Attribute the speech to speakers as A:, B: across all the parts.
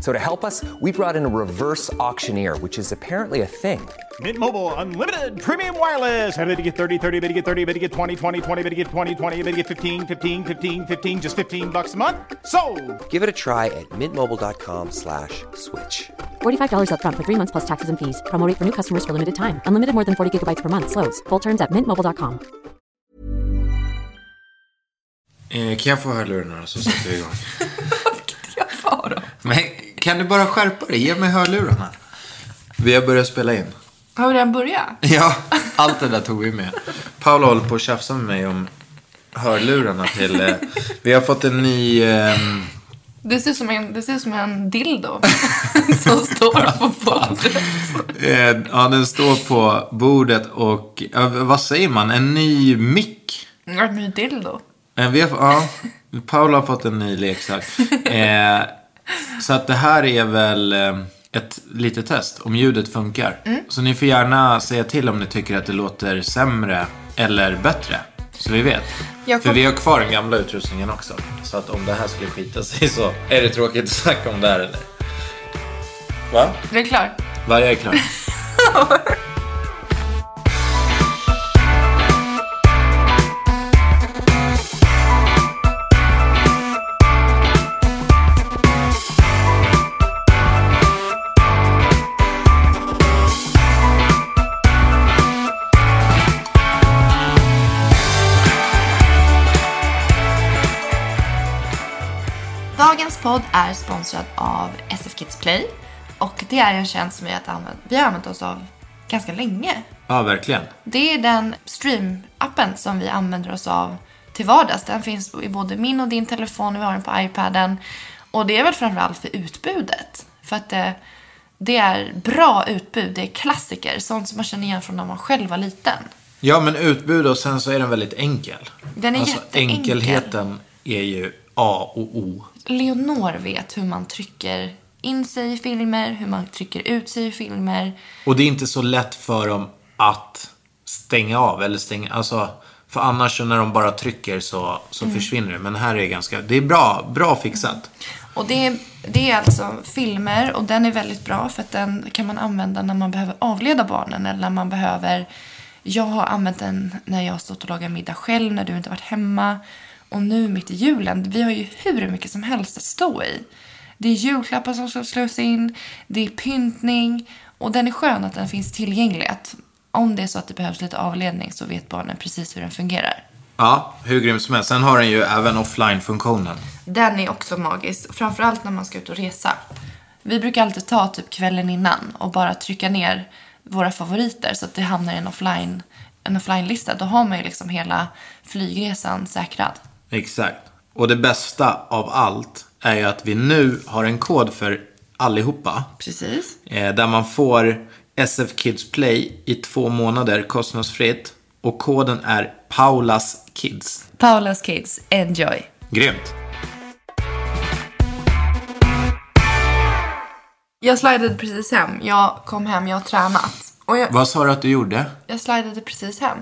A: So to help us, we brought in a reverse auctioneer, which is apparently a thing.
B: Mint Mobile unlimited premium wireless. Ready to get 30, 30, bit to get 30, bit to get 20, 20, 20, bit to get 20, 20, bit to get 15, 15, 15, 15 just 15 bucks a month. So,
A: Give it a try at mintmobile.com slash switch.
C: $45 upfront for three months plus taxes and fees. Promo rate for new customers for limited time. Unlimited more than 40 gigabytes per month. Slows. Full terms at mintmobile.com.
D: Eh, kan jag få hörlurarna så sätter vi igång?
E: Jag far då.
D: Men kan du bara skärpa dig? Ge mig hörlurarna. Vi har börjat spela in.
E: Har vi redan börjat?
D: Ja, allt det där tog vi med. Paula håller på att tjafsa med mig om hörlurarna till... Eh, vi har fått en ny... ehm,
E: Det ser ut som en, det ser ut som en dildo som står på bordet.
D: Eh, ja, den står på bordet och... ja, vad säger man? En ny mick?
E: En ny dildo.
D: Eh, vi har, ja, Paula har fått en ny leksak. Eh, så att det här är väl eh, ett litet test om ljudet funkar.
E: Mm.
D: Så ni får gärna säga till om ni tycker att det låter sämre eller bättre. Så vi vet.
E: Jag
D: För
E: kom-
D: vi har kvar den gamla utrustningen också. Så att om det här skulle skita sig så är det tråkigt att snacka om det här eller? Va?
E: Det är klart.
D: Vad jag är klar.
E: Dagens podd är sponsrad av SF Kids Play. Och det är en tjänst som vi har använt, vi har använt oss av ganska länge.
D: Ja, verkligen.
E: Det är den streamappen som vi använder oss av till vardags. Den finns i både min och din telefon och vi har den på iPaden. Och det är väl framförallt för utbudet. För att det, det är bra utbud, det är klassiker, sånt som man känner igen från när man själv var liten.
D: Ja, men utbud och sen så är den väldigt enkel. Alltså,
E: Den är jätteenkel.
D: Enkelheten är ju A och O.
E: Leonor vet hur man trycker in sig i filmer, hur man trycker ut sig i filmer.
D: Och det är inte så lätt för dem att stänga av eller stänga, alltså för annars så när de bara trycker så, så
E: Mm.
D: försvinner det. Men här är det ganska, det är bra, bra fixat.
E: Och det är, det är alltså filmer och den är väldigt bra för att den kan man använda när man behöver avleda barnen eller när man behöver... Jag har använt den när jag har stått och lagat middag själv, när du inte varit hemma. Och nu mitt i julen, vi har ju hur mycket som helst att stå i. Det är julklappar som ska slås in, det är pyntning och den är skön att den finns tillgänglig. Att om det är så att det behövs lite avledning så vet barnen precis hur den fungerar.
D: Ja, hur grym som helst. Sen har den ju även offline-funktionen.
E: Den är också magisk, framförallt när man ska ut och resa. Vi brukar alltid ta typ kvällen innan och bara trycka ner våra favoriter så att det hamnar i en offline en offline-lista, då har man ju liksom hela flygresan säkrad.
D: Exakt. Och det bästa av allt är ju att vi nu har en kod för allihopa.
E: Precis.
D: Eh, där man får SF Kids Play i två månader kostnadsfritt. Och koden är Paulas Kids.
E: Paulas Kids, enjoy!
D: Grymt.
E: Jag slidade precis hem. Jag kom hem, jag har tränat. Och jag,
D: Vad sa du att du gjorde?
E: jag slidade precis hem.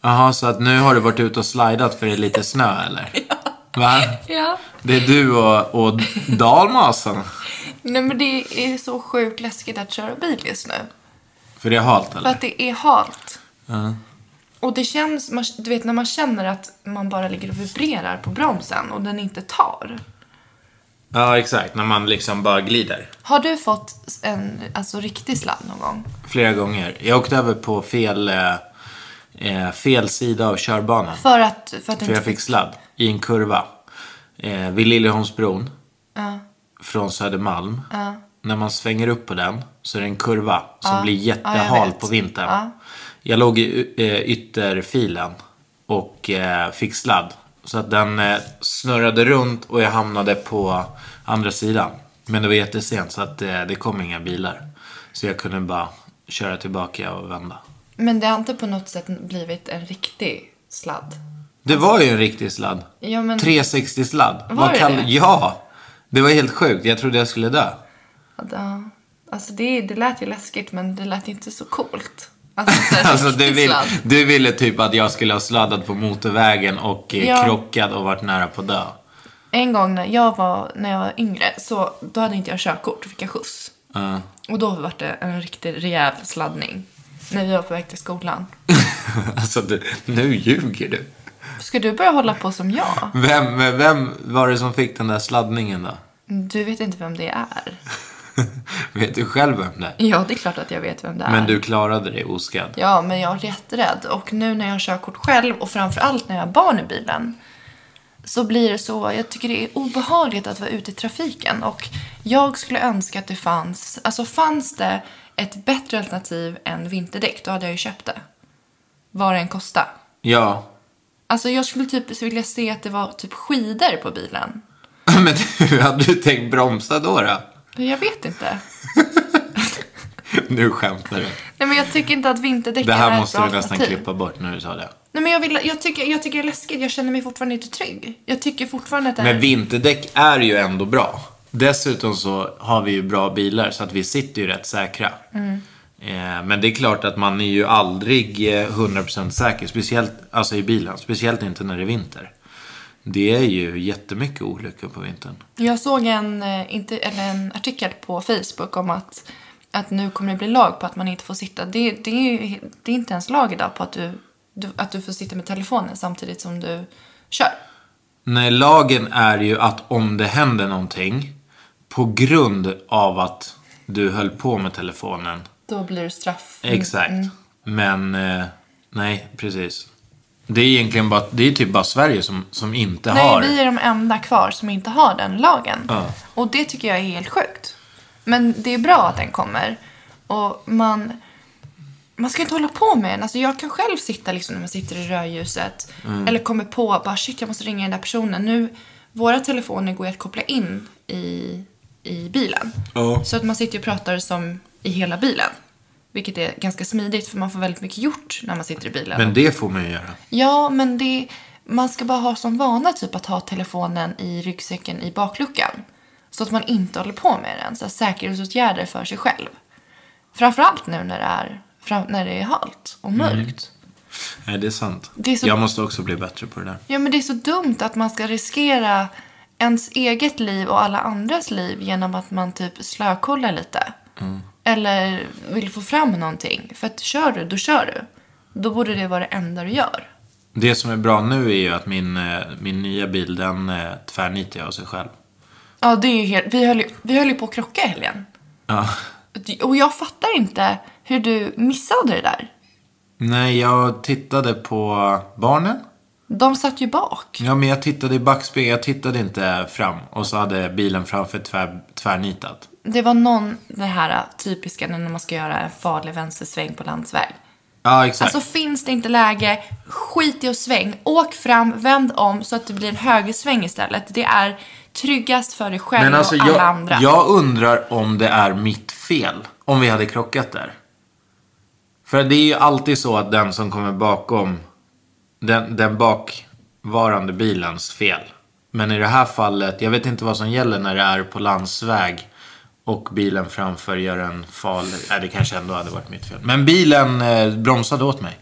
D: Jaha, så att nu har du varit ute och slidat för det är lite snö eller? Va?
E: Ja.
D: Det är du och, och dalmasen.
E: Nej men det är så sjukt läskigt att köra bil just nu.
D: För det är halt
E: För
D: eller?
E: att det är halt. Och det känns, man, du vet när man känner att man bara ligger och vibrerar på bromsen och den inte tar.
D: Ja, exakt. När man liksom bara glider.
E: Har du fått en alltså, riktig sladd någon gång?
D: Flera gånger. Jag åkte över på fel, eh, eh, fel sida av körbanan.
E: För att, för att du
D: För jag
E: inte
D: fick sladd i en kurva. Eh, vid Liljeholmsbron.
E: Ja.
D: Från Södermalm. När man svänger upp på den så är det en kurva som blir
E: Ja, jag
D: jättehal
E: vet.
D: på vintern. Jag låg i y- eh, ytterfilen och eh, fick sladd. Så att den eh, snurrade runt och jag hamnade på andra sidan. Men det var jättesent så att eh, det kom inga bilar. Så jag kunde bara köra tillbaka och vända.
E: Men det har inte på något sätt blivit en riktig sladd.
D: Det var ju en riktig sladd.
E: Alltså- Ja, men-
D: 360 sladd.
E: Var
D: Vad
E: det
D: kall-
E: det?
D: Ja! Det var helt sjukt. Jag trodde jag skulle dö.
E: Att, ja. Alltså det, det lät ju läskigt men det lät inte så coolt. Alltså, inte en
D: Alltså, du,
E: riktig
D: vill,
E: sladd.
D: du ville typ att jag skulle ha sladdat på motorvägen och eh,
E: Ja.
D: krockat och varit nära på att dö.
E: En gång när jag var, när jag var yngre så då hade inte jag körkort, då fick jag skjuts.
D: Ja.
E: Och då var det en riktig rejäl sladdning. När vi var på väg till skolan.
D: Alltså, du, nu ljuger du.
E: Ska du börja hålla på som jag?
D: Vem, vem var det som fick den där sladdningen då?
E: Du vet inte vem det är.
D: Vet du själv vem det är?
E: Ja, det är klart att jag vet vem det är.
D: Men du klarade det oskadd.
E: Ja, men jag är jätterädd. Och nu när jag har körkort själv och framförallt när jag har barn i bilen så blir det så, jag tycker det är obehagligt att vara ute i trafiken och jag skulle önska att det fanns, alltså fanns det ett bättre alternativ än vinterdäck, då hade jag ju köpt det. Vad det än kostade.
D: Ja.
E: Alltså jag skulle typ vilja se att det var typ skidor på bilen.
D: Men hur hade du tänkt bromsa då? då?
E: Men Jag vet inte.
D: Nu skämtar du.
E: Nej men jag tycker inte att vinterdäcken
D: Det
E: är
D: här
E: ett
D: måste
E: bra
D: du nästan
E: alternativ.
D: klippa bort när du sa det.
E: Nej men jag, vill, jag, tycker, jag tycker det är läskigt, jag känner mig fortfarande inte trygg. Jag tycker fortfarande att det här
D: Men vinterdäck är ju ändå bra. Dessutom så har vi ju bra bilar så att vi sitter ju rätt säkra. Eh, Men det är klart att man är ju aldrig eh, 100% säker. Speciellt alltså i bilen. Speciellt inte när det är vinter. Det är ju jättemycket olyckor på vintern.
E: Jag såg en, eh, inte, eller en artikel på Facebook om att, att nu kommer det bli lag på att man inte får sitta. Det, det, är, ju, det är inte ens lag idag på att du, du, att du får sitta med telefonen samtidigt som du kör.
D: Nej, lagen är ju att om det händer någonting på grund av att du höll på med telefonen.
E: Då blir du straff.
D: Exakt.
E: mm.
D: Men, eh, nej, precis. Det är egentligen bara, det är typ bara Sverige som, som inte
E: Nej,
D: har.
E: vi är de enda kvar som inte har den lagen.
D: Ja.
E: Och det tycker jag är helt sjukt. Men det är bra att den kommer. Och man... Man ska inte hålla på med den. Alltså jag kan själv sitta liksom när man sitter i rödljuset.
D: Mm.
E: Eller kommer på bara shit jag måste ringa den där personen. Nu, våra telefoner går ju att koppla in i, i bilen.
D: Ja.
E: Så att man sitter och pratar som i hela bilen. Vilket är ganska smidigt för man får väldigt mycket gjort när man sitter i bilen.
D: Men det får man ju göra.
E: Ja, men det, man ska bara ha som vana typ att ha telefonen i ryggsäcken i bakluckan. Så att man inte håller på med den. Så här, säkerhetsåtgärder för sig själv. Framförallt nu när det är, fram, när det är halt och mörkt.
D: Nej, det är sant.
E: Det är så-
D: Jag måste också bli bättre på det där.
E: Ja, men det är så dumt att man ska riskera ens eget liv och alla andras liv genom att man typ slökollar lite. Eller vill få fram någonting. För att kör du, då kör du. Då borde det vara det enda du gör.
D: Det som är bra nu är ju att min, eh, min nya bil, den eh, tvärnitar jag av sig själv.
E: Ja, det är ju helt... Vi höll ju, vi höll ju på att krocka i helgen.
D: Ja.
E: Och jag fattar inte hur du missade det där.
D: Nej, jag tittade på barnen.
E: De satt ju bak.
D: Ja, men jag tittade i backspegeln. Jag tittade inte fram. Och så hade bilen framför tvär, tvärnitat.
E: Det var någon, det här typiska när man ska göra en farlig vänstersväng på landsväg.
D: Ja, exakt.
E: Alltså finns det inte läge, skit i att sväng. Åk fram, vänd om så att det blir en högersväng istället. Det är tryggast för dig själv
D: men alltså,
E: och alla
D: jag,
E: andra.
D: jag undrar om det är mitt fel. Om vi hade krockat där. För det är ju alltid så att den som kommer bakom, den, den bakvarande bilens fel. Men i det här fallet, jag vet inte vad som gäller när det är på landsväg och bilen framför gör en farlig... Nej, det kanske ändå hade varit mitt fel. Men bilen eh, bromsade åt mig.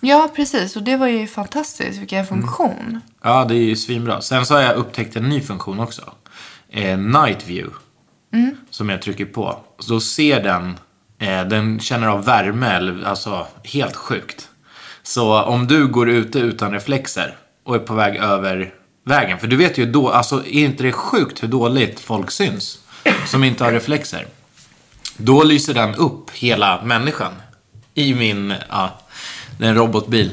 E: Ja, precis. Och det var ju fantastiskt. Vilken funktion.
D: Ja, det är ju svinbra. Sen så har jag upptäckt en ny funktion också. Eh, night view. Som jag trycker på. Så då ser den, eh, den känner av värme, eller, alltså helt sjukt. Så om du går ute utan reflexer och är på väg över vägen. För du vet ju då, alltså är inte det sjukt hur dåligt folk syns? Som inte har reflexer. Då lyser den upp hela människan. I min, ja, det är en robotbil.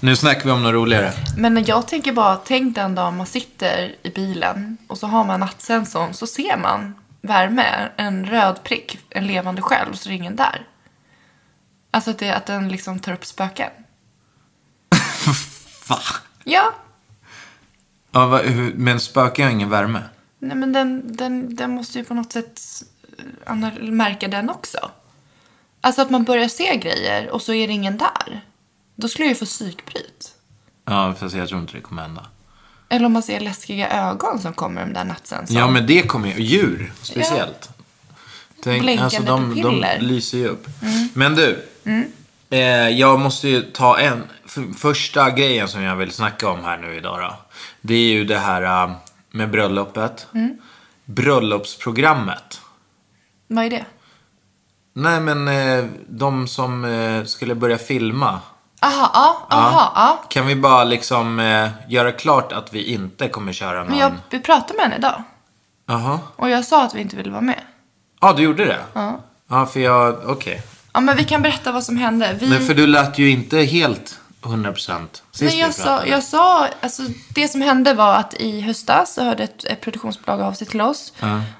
D: Nu snackar vi om något roligare.
E: Men jag tänker bara, tänk den dag man sitter i bilen och så har man nattsensorn så ser man värme, en röd prick, en levande själ och så är det ingen där. Alltså att, det, att den liksom tar upp spöken.
D: Va?
E: Ja,
D: Ja, va, hur, men spöken har ingen värme?
E: nej men den, den, den måste ju på något sätt eh, anal- märka den också. Alltså att man börjar se grejer och så är det ingen där. Då skulle jag ju få psykbryt.
D: Ja, fast jag tror inte det kommer hända.
E: Eller om man ser läskiga ögon som kommer de där nattsensorn.
D: Ja, men det kommer ju. Djur, speciellt. Tänk,
E: Blinkande
D: alltså de, de
E: pupiller. Mm.
D: lyser ju upp. Men du. Eh, jag måste ju ta en. f- Första grejen som jag vill snacka om här nu idag då. Det är ju det här eh, med bröllopet.
E: Mm.
D: Bröllopsprogrammet.
E: Vad är det?
D: Nej, men eh, de som eh, skulle börja filma.
E: Aha, ja, aha, ja.
D: Kan vi bara liksom eh, göra klart att vi inte kommer köra någon...
E: Men jag, vi pratade med henne idag.
D: Jaha.
E: Och jag sa att vi inte ville vara med.
D: Ja, ah, du gjorde det? Ja. Ja, för jag... Okej.
E: Ja, men vi kan berätta vad som hände. Vi,
D: Men för du lät ju inte helt 100% sist
E: Nej, jag,
D: vi
E: sa,
D: pratade.
E: jag sa, alltså det som hände var att i höstas så hörde ett, ett produktionsbolag av sig till oss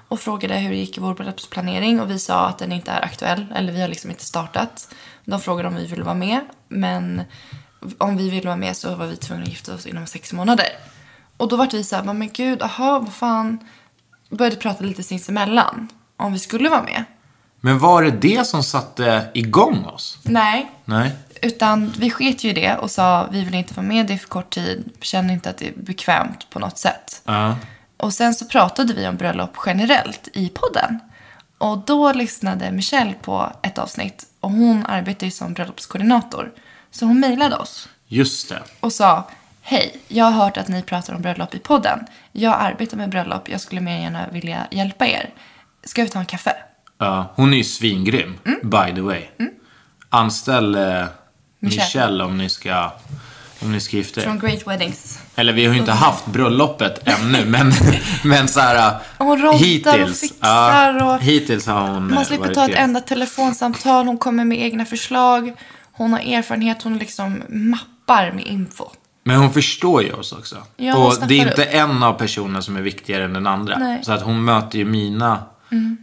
E: och frågade hur det gick i vår bröllopsplanering och vi sa att den inte är aktuell, eller vi har liksom inte startat. De frågade om vi ville vara med, men om vi ville vara med så var vi tvungna att gifta oss inom sex månader. Och då var vi så här, "Va, men gud, aha, vad fan. Började prata lite sinsemellan om vi skulle vara med.
D: Men var det det som satte igång oss?
E: Nej,
D: Nej.
E: Utan vi sket ju i det och sa vi vill inte vara med, det är för kort tid, känner inte att det är bekvämt på något sätt.
D: Ja.
E: Och sen så pratade vi om bröllop generellt i podden. Och då lyssnade Michelle på ett avsnitt och hon arbetar ju som bröllopskoordinator. Så hon mejlade oss
D: Just det.
E: och sa Hej, jag har hört att ni pratar om bröllop i podden. Jag arbetar med bröllop, jag skulle mer gärna vilja hjälpa er. Ska vi ta en kaffe?
D: Ja, hon är ju svingrym, by the way. Anställ eh, Michelle.
E: Mm. Michelle.
D: om ni ska... Om ni ska gifta
E: Från Mm.
D: er.
E: Great Weddings.
D: Eller vi har ju inte haft bröllopet ännu, men, men så här...
E: Hon roddar och fixar
D: ja,
E: och-
D: Hittills har hon eh,
E: Man slipper
D: varit
E: ta ett
D: grym.
E: enda telefonsamtal, hon kommer med egna förslag, hon har erfarenhet, hon liksom mappar med info.
D: Men hon förstår ju oss också.
E: Ja, hon
D: och det är
E: snappar
D: inte en av personerna som är viktigare än den andra.
E: Nej. Mm.
D: Så att hon möter ju mina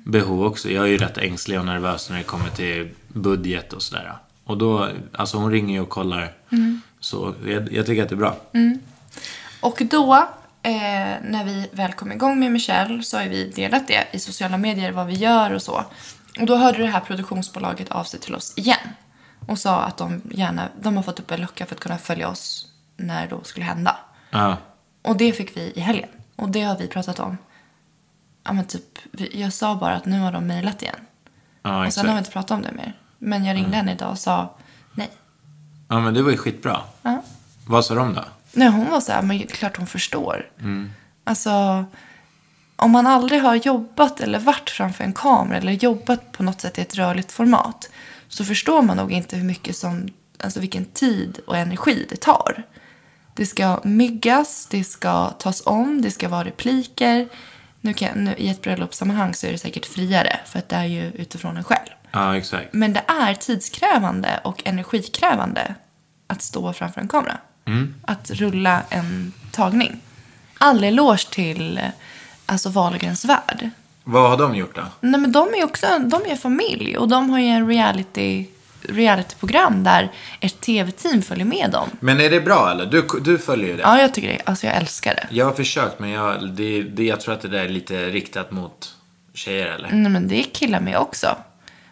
D: behov också. Jag är ju rätt ängslig och nervös när det kommer till budget och sådär. Och då, alltså hon ringer ju och kollar.
E: Mm.
D: Så jag, jag tycker att det är bra.
E: Och då, eh, när vi väl kom igång med Michelle så har ju vi delat det i sociala medier, vad vi gör och så. Och då hörde det här produktionsbolaget av sig till oss igen och sa att de gärna, de har fått upp en lucka för att kunna följa oss när det skulle hända.
D: Ja.
E: Och det fick vi i helgen. Och det har vi pratat om. Ja men typ, vi- jag sa bara att nu har de mejlat igen.
D: Ja,
E: Och sen Alltså, har vi
D: exakt.
E: inte pratat om det mer. Men jag ringde henne idag och sa nej.
D: Ja, men det var ju skitbra.
E: Ja.
D: Vad sa de då?
E: Nej, hon var så här, men det är klart hon förstår. Alltså, om man aldrig har jobbat eller varit framför en kamera eller jobbat på något sätt i ett rörligt format så förstår man nog inte hur mycket som, alltså vilken tid och energi det tar. Det ska myggas, det ska tas om, det ska vara repliker. Nu kan, nu, I ett bröllopssammanhang så är det säkert friare för att det är ju utifrån en själv.
D: Ja, exakt.
E: Men det är tidskrävande och energikrävande att stå framför en kamera. Att rulla en tagning. All eloge till alltså Wahlgrens värld.
D: Vad har de gjort då?
E: Nej, men de är ju också de är en familj och de har ju en reality realityprogram där ett tv-team följer med dem.
D: Men är det bra eller? Du, du följer ju det.
E: Ja, jag tycker det. Alltså, jag älskar det.
D: Jag har försökt, men jag, det, det, jag tror att det där är lite riktat mot tjejer eller?
E: Nej, men det är killar med också.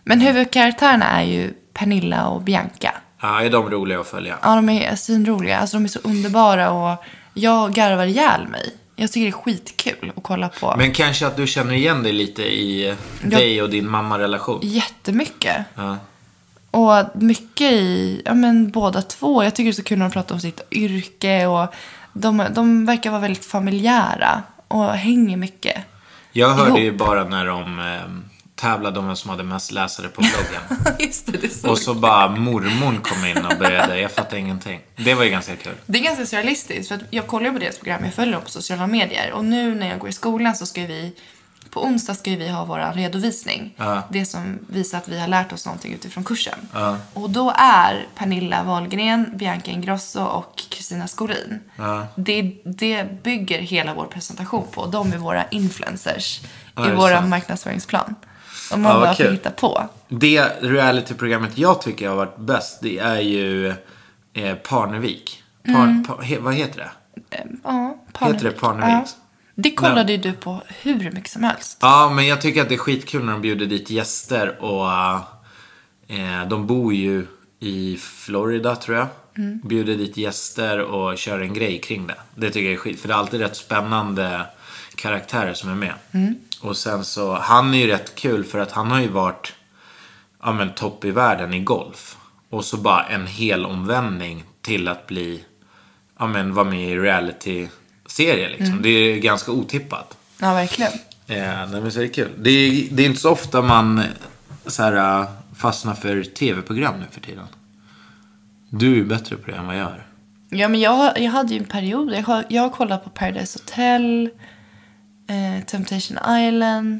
E: Men huvudkaraktärerna är ju Pernilla och Bianca.
D: Ja, är de roliga att följa?
E: Ja, de är svinroliga. Alltså, de är så underbara och jag garvar ihjäl mig. Jag tycker det är skitkul att kolla på.
D: Men kanske att du känner igen dig lite i dig och din mammarelation.
E: Jättemycket.
D: Ja.
E: Och mycket i, ja men båda två. Jag tycker det är så kul när de pratar om sitt yrke och de, de verkar vara väldigt familjära och hänger mycket.
D: Jag hörde ju
E: ihop.
D: bara när de eh, tävlade om vem som hade mest läsare på bloggen.
E: Just det, det är så
D: och så bara mormon kom in och började. Jag fattade ingenting. Det var ju ganska kul.
E: Det är ganska surrealistiskt för att jag kollar ju på deras program, jag följer dem på sociala medier och nu när jag går i skolan så ska ju vi på onsdag ska ju vi ha vår redovisning. Det som visar att vi har lärt oss någonting utifrån kursen. Och då är Pernilla Wahlgren, Bianca Ingrosso och Kristina Skorin. Det, det bygger hela vår presentation på. De är våra influencers
D: det
E: i
D: är
E: våra
D: sant.
E: marknadsföringsplan. Och
D: Ja,
E: man
D: vad
E: bara får
D: kul.
E: hitta på.
D: Det realityprogrammet jag tycker har varit bäst, det är ju eh, Parnevik. Par, pa, he, vad heter det?
E: Ehm, Ja, Parnevik.
D: Heter det Parnevik?
E: Det kollade ju du på hur mycket som helst.
D: Ja, men jag tycker att det är skitkul när de bjuder dit gäster och eh, de bor ju i Florida tror jag. Bjuder dit gäster och kör en grej kring det. Det tycker jag är skit, för det är alltid rätt spännande karaktärer som är med. Och sen så, han är ju rätt kul för att han har ju varit ja, men, topp i världen i golf. Och så bara en hel omvändning till att bli, ja men vara med i reality-serie liksom. Det är ju ganska otippat.
E: Ja, verkligen.
D: Ja, Eh, nej, men så är det kul. Det är, det är inte så ofta man eh, så här, eh, fastnar för tv-program nu för tiden. Du är ju bättre på det än vad jag är.
E: Ja, men jag, jag hade ju en period. Jag, har- jag har kollat på Paradise Hotel, eh, Temptation Island,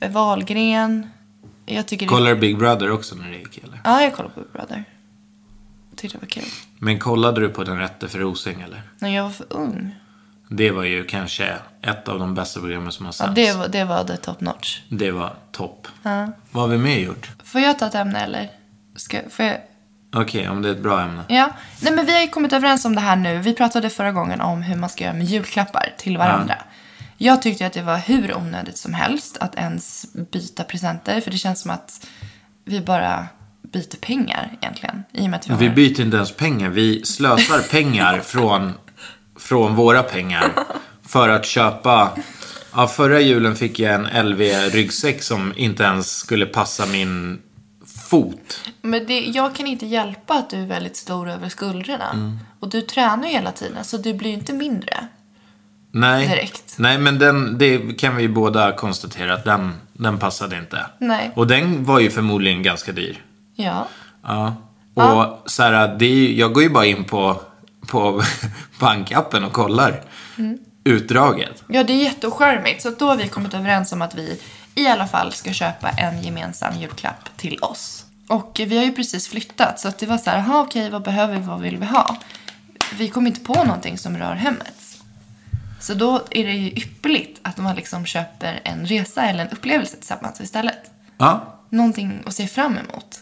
E: eh, Wahlgren. Jag tycker det...
D: Kollar du Big Brother också när det gick eller?
E: Ja, jag kollar på Big Brother. Tyckte det var kul.
D: Men kollade du på Den rätte för Rosing eller?
E: När jag var för ung.
D: Det var ju kanske ett av de bästa programmen som har
E: Ja,
D: sänts.
E: det, var, det var the top notch.
D: det var topp. Vad har vi mer gjort?
E: Får jag ta ett ämne eller? Ska, får jag...
D: Okej, om det är ett bra ämne.
E: Ja. Nej, men vi har ju kommit överens om det här nu. Vi pratade förra gången om hur man ska göra med julklappar till varandra. Jag tyckte att det var hur onödigt som helst att ens byta presenter. För det känns som att vi bara byter pengar egentligen. I och med att vi,
D: Vi
E: har...
D: byter inte ens pengar. Vi slösar pengar från, från våra pengar för att köpa. Ja, förra julen fick jag en LV-ryggsäck som inte ens skulle passa min fot.
E: Men det, jag kan inte hjälpa att du är väldigt stor över skulderna. Och du tränar ju hela tiden så du blir ju inte mindre.
D: Nej,
E: Direkt.
D: Nej men den, det kan vi båda konstatera att den, den passade inte.
E: Nej.
D: Och den var ju förmodligen ganska dyr.
E: Ja.
D: Ja. Och så här, det är, ju- jag går ju bara in på, på bankappen och kollar
E: Mm.
D: utdraget.
E: Ja, det är jätteoskärmigt. Så då har vi kommit överens om att vi i alla fall ska köpa en gemensam julklapp till oss. Och vi har ju precis flyttat så att det var så här, "Jaha, okej, vad behöver vi, vad vill vi ha? Vi kom inte på någonting som rör hemmet. Så då är det ju ypperligt att man liksom köper en resa eller en upplevelse tillsammans istället.
D: Ja.
E: Någonting att se fram emot.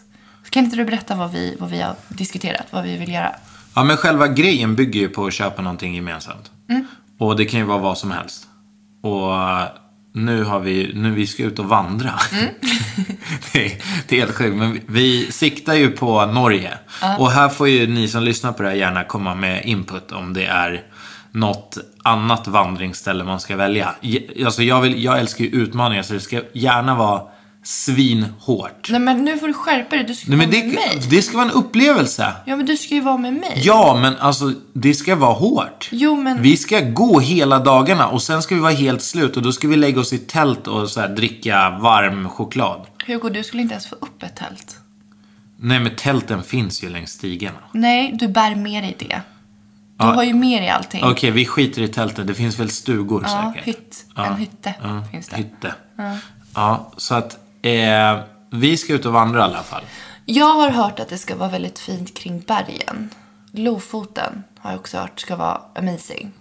E: Kan inte du berätta vad vi, vad vi har diskuterat, vad vi vill göra?
D: Ja, men själva grejen bygger ju på att köpa någonting gemensamt. Och det kan ju vara vad som helst. Och eh, nu har vi, nu vi ska ut och vandra. det, är, det är helt sjukt. Men vi, vi siktar ju på Norge. Och här får ju ni som lyssnar på det här gärna komma med input om det är något annat vandringsställe man ska välja. Je- Alltså jag, vill, jag älskar ju utmaningar så det ska gärna vara svinhårt.
E: Nej men nu får du skärpa dig, du ska
D: Nej,
E: vara
D: men
E: med
D: det,
E: mig.
D: det ska vara en upplevelse.
E: Ja men du ska ju vara med mig.
D: Ja, men alltså det ska vara hårt.
E: Jo, men-
D: Vi ska gå hela dagarna och sen ska vi vara helt slut och då ska vi lägga oss i tält och så här, dricka varm choklad.
E: Hugo, du skulle inte ens få upp ett tält.
D: Nej, men tälten finns ju längs stigarna.
E: Nej, du bär med dig det. Du
D: Ja.
E: har ju med dig allting.
D: Okej, vi skiter i tältet. Det finns väl stugor
E: ja,
D: säkert?
E: hytt. En hytte
D: Ja,
E: finns det.
D: Hytte. Ja, så att eh, vi ska ut och vandra i alla fall.
E: Jag har hört att det ska vara väldigt fint kring bergen. Lofoten har jag också hört ska vara amazing.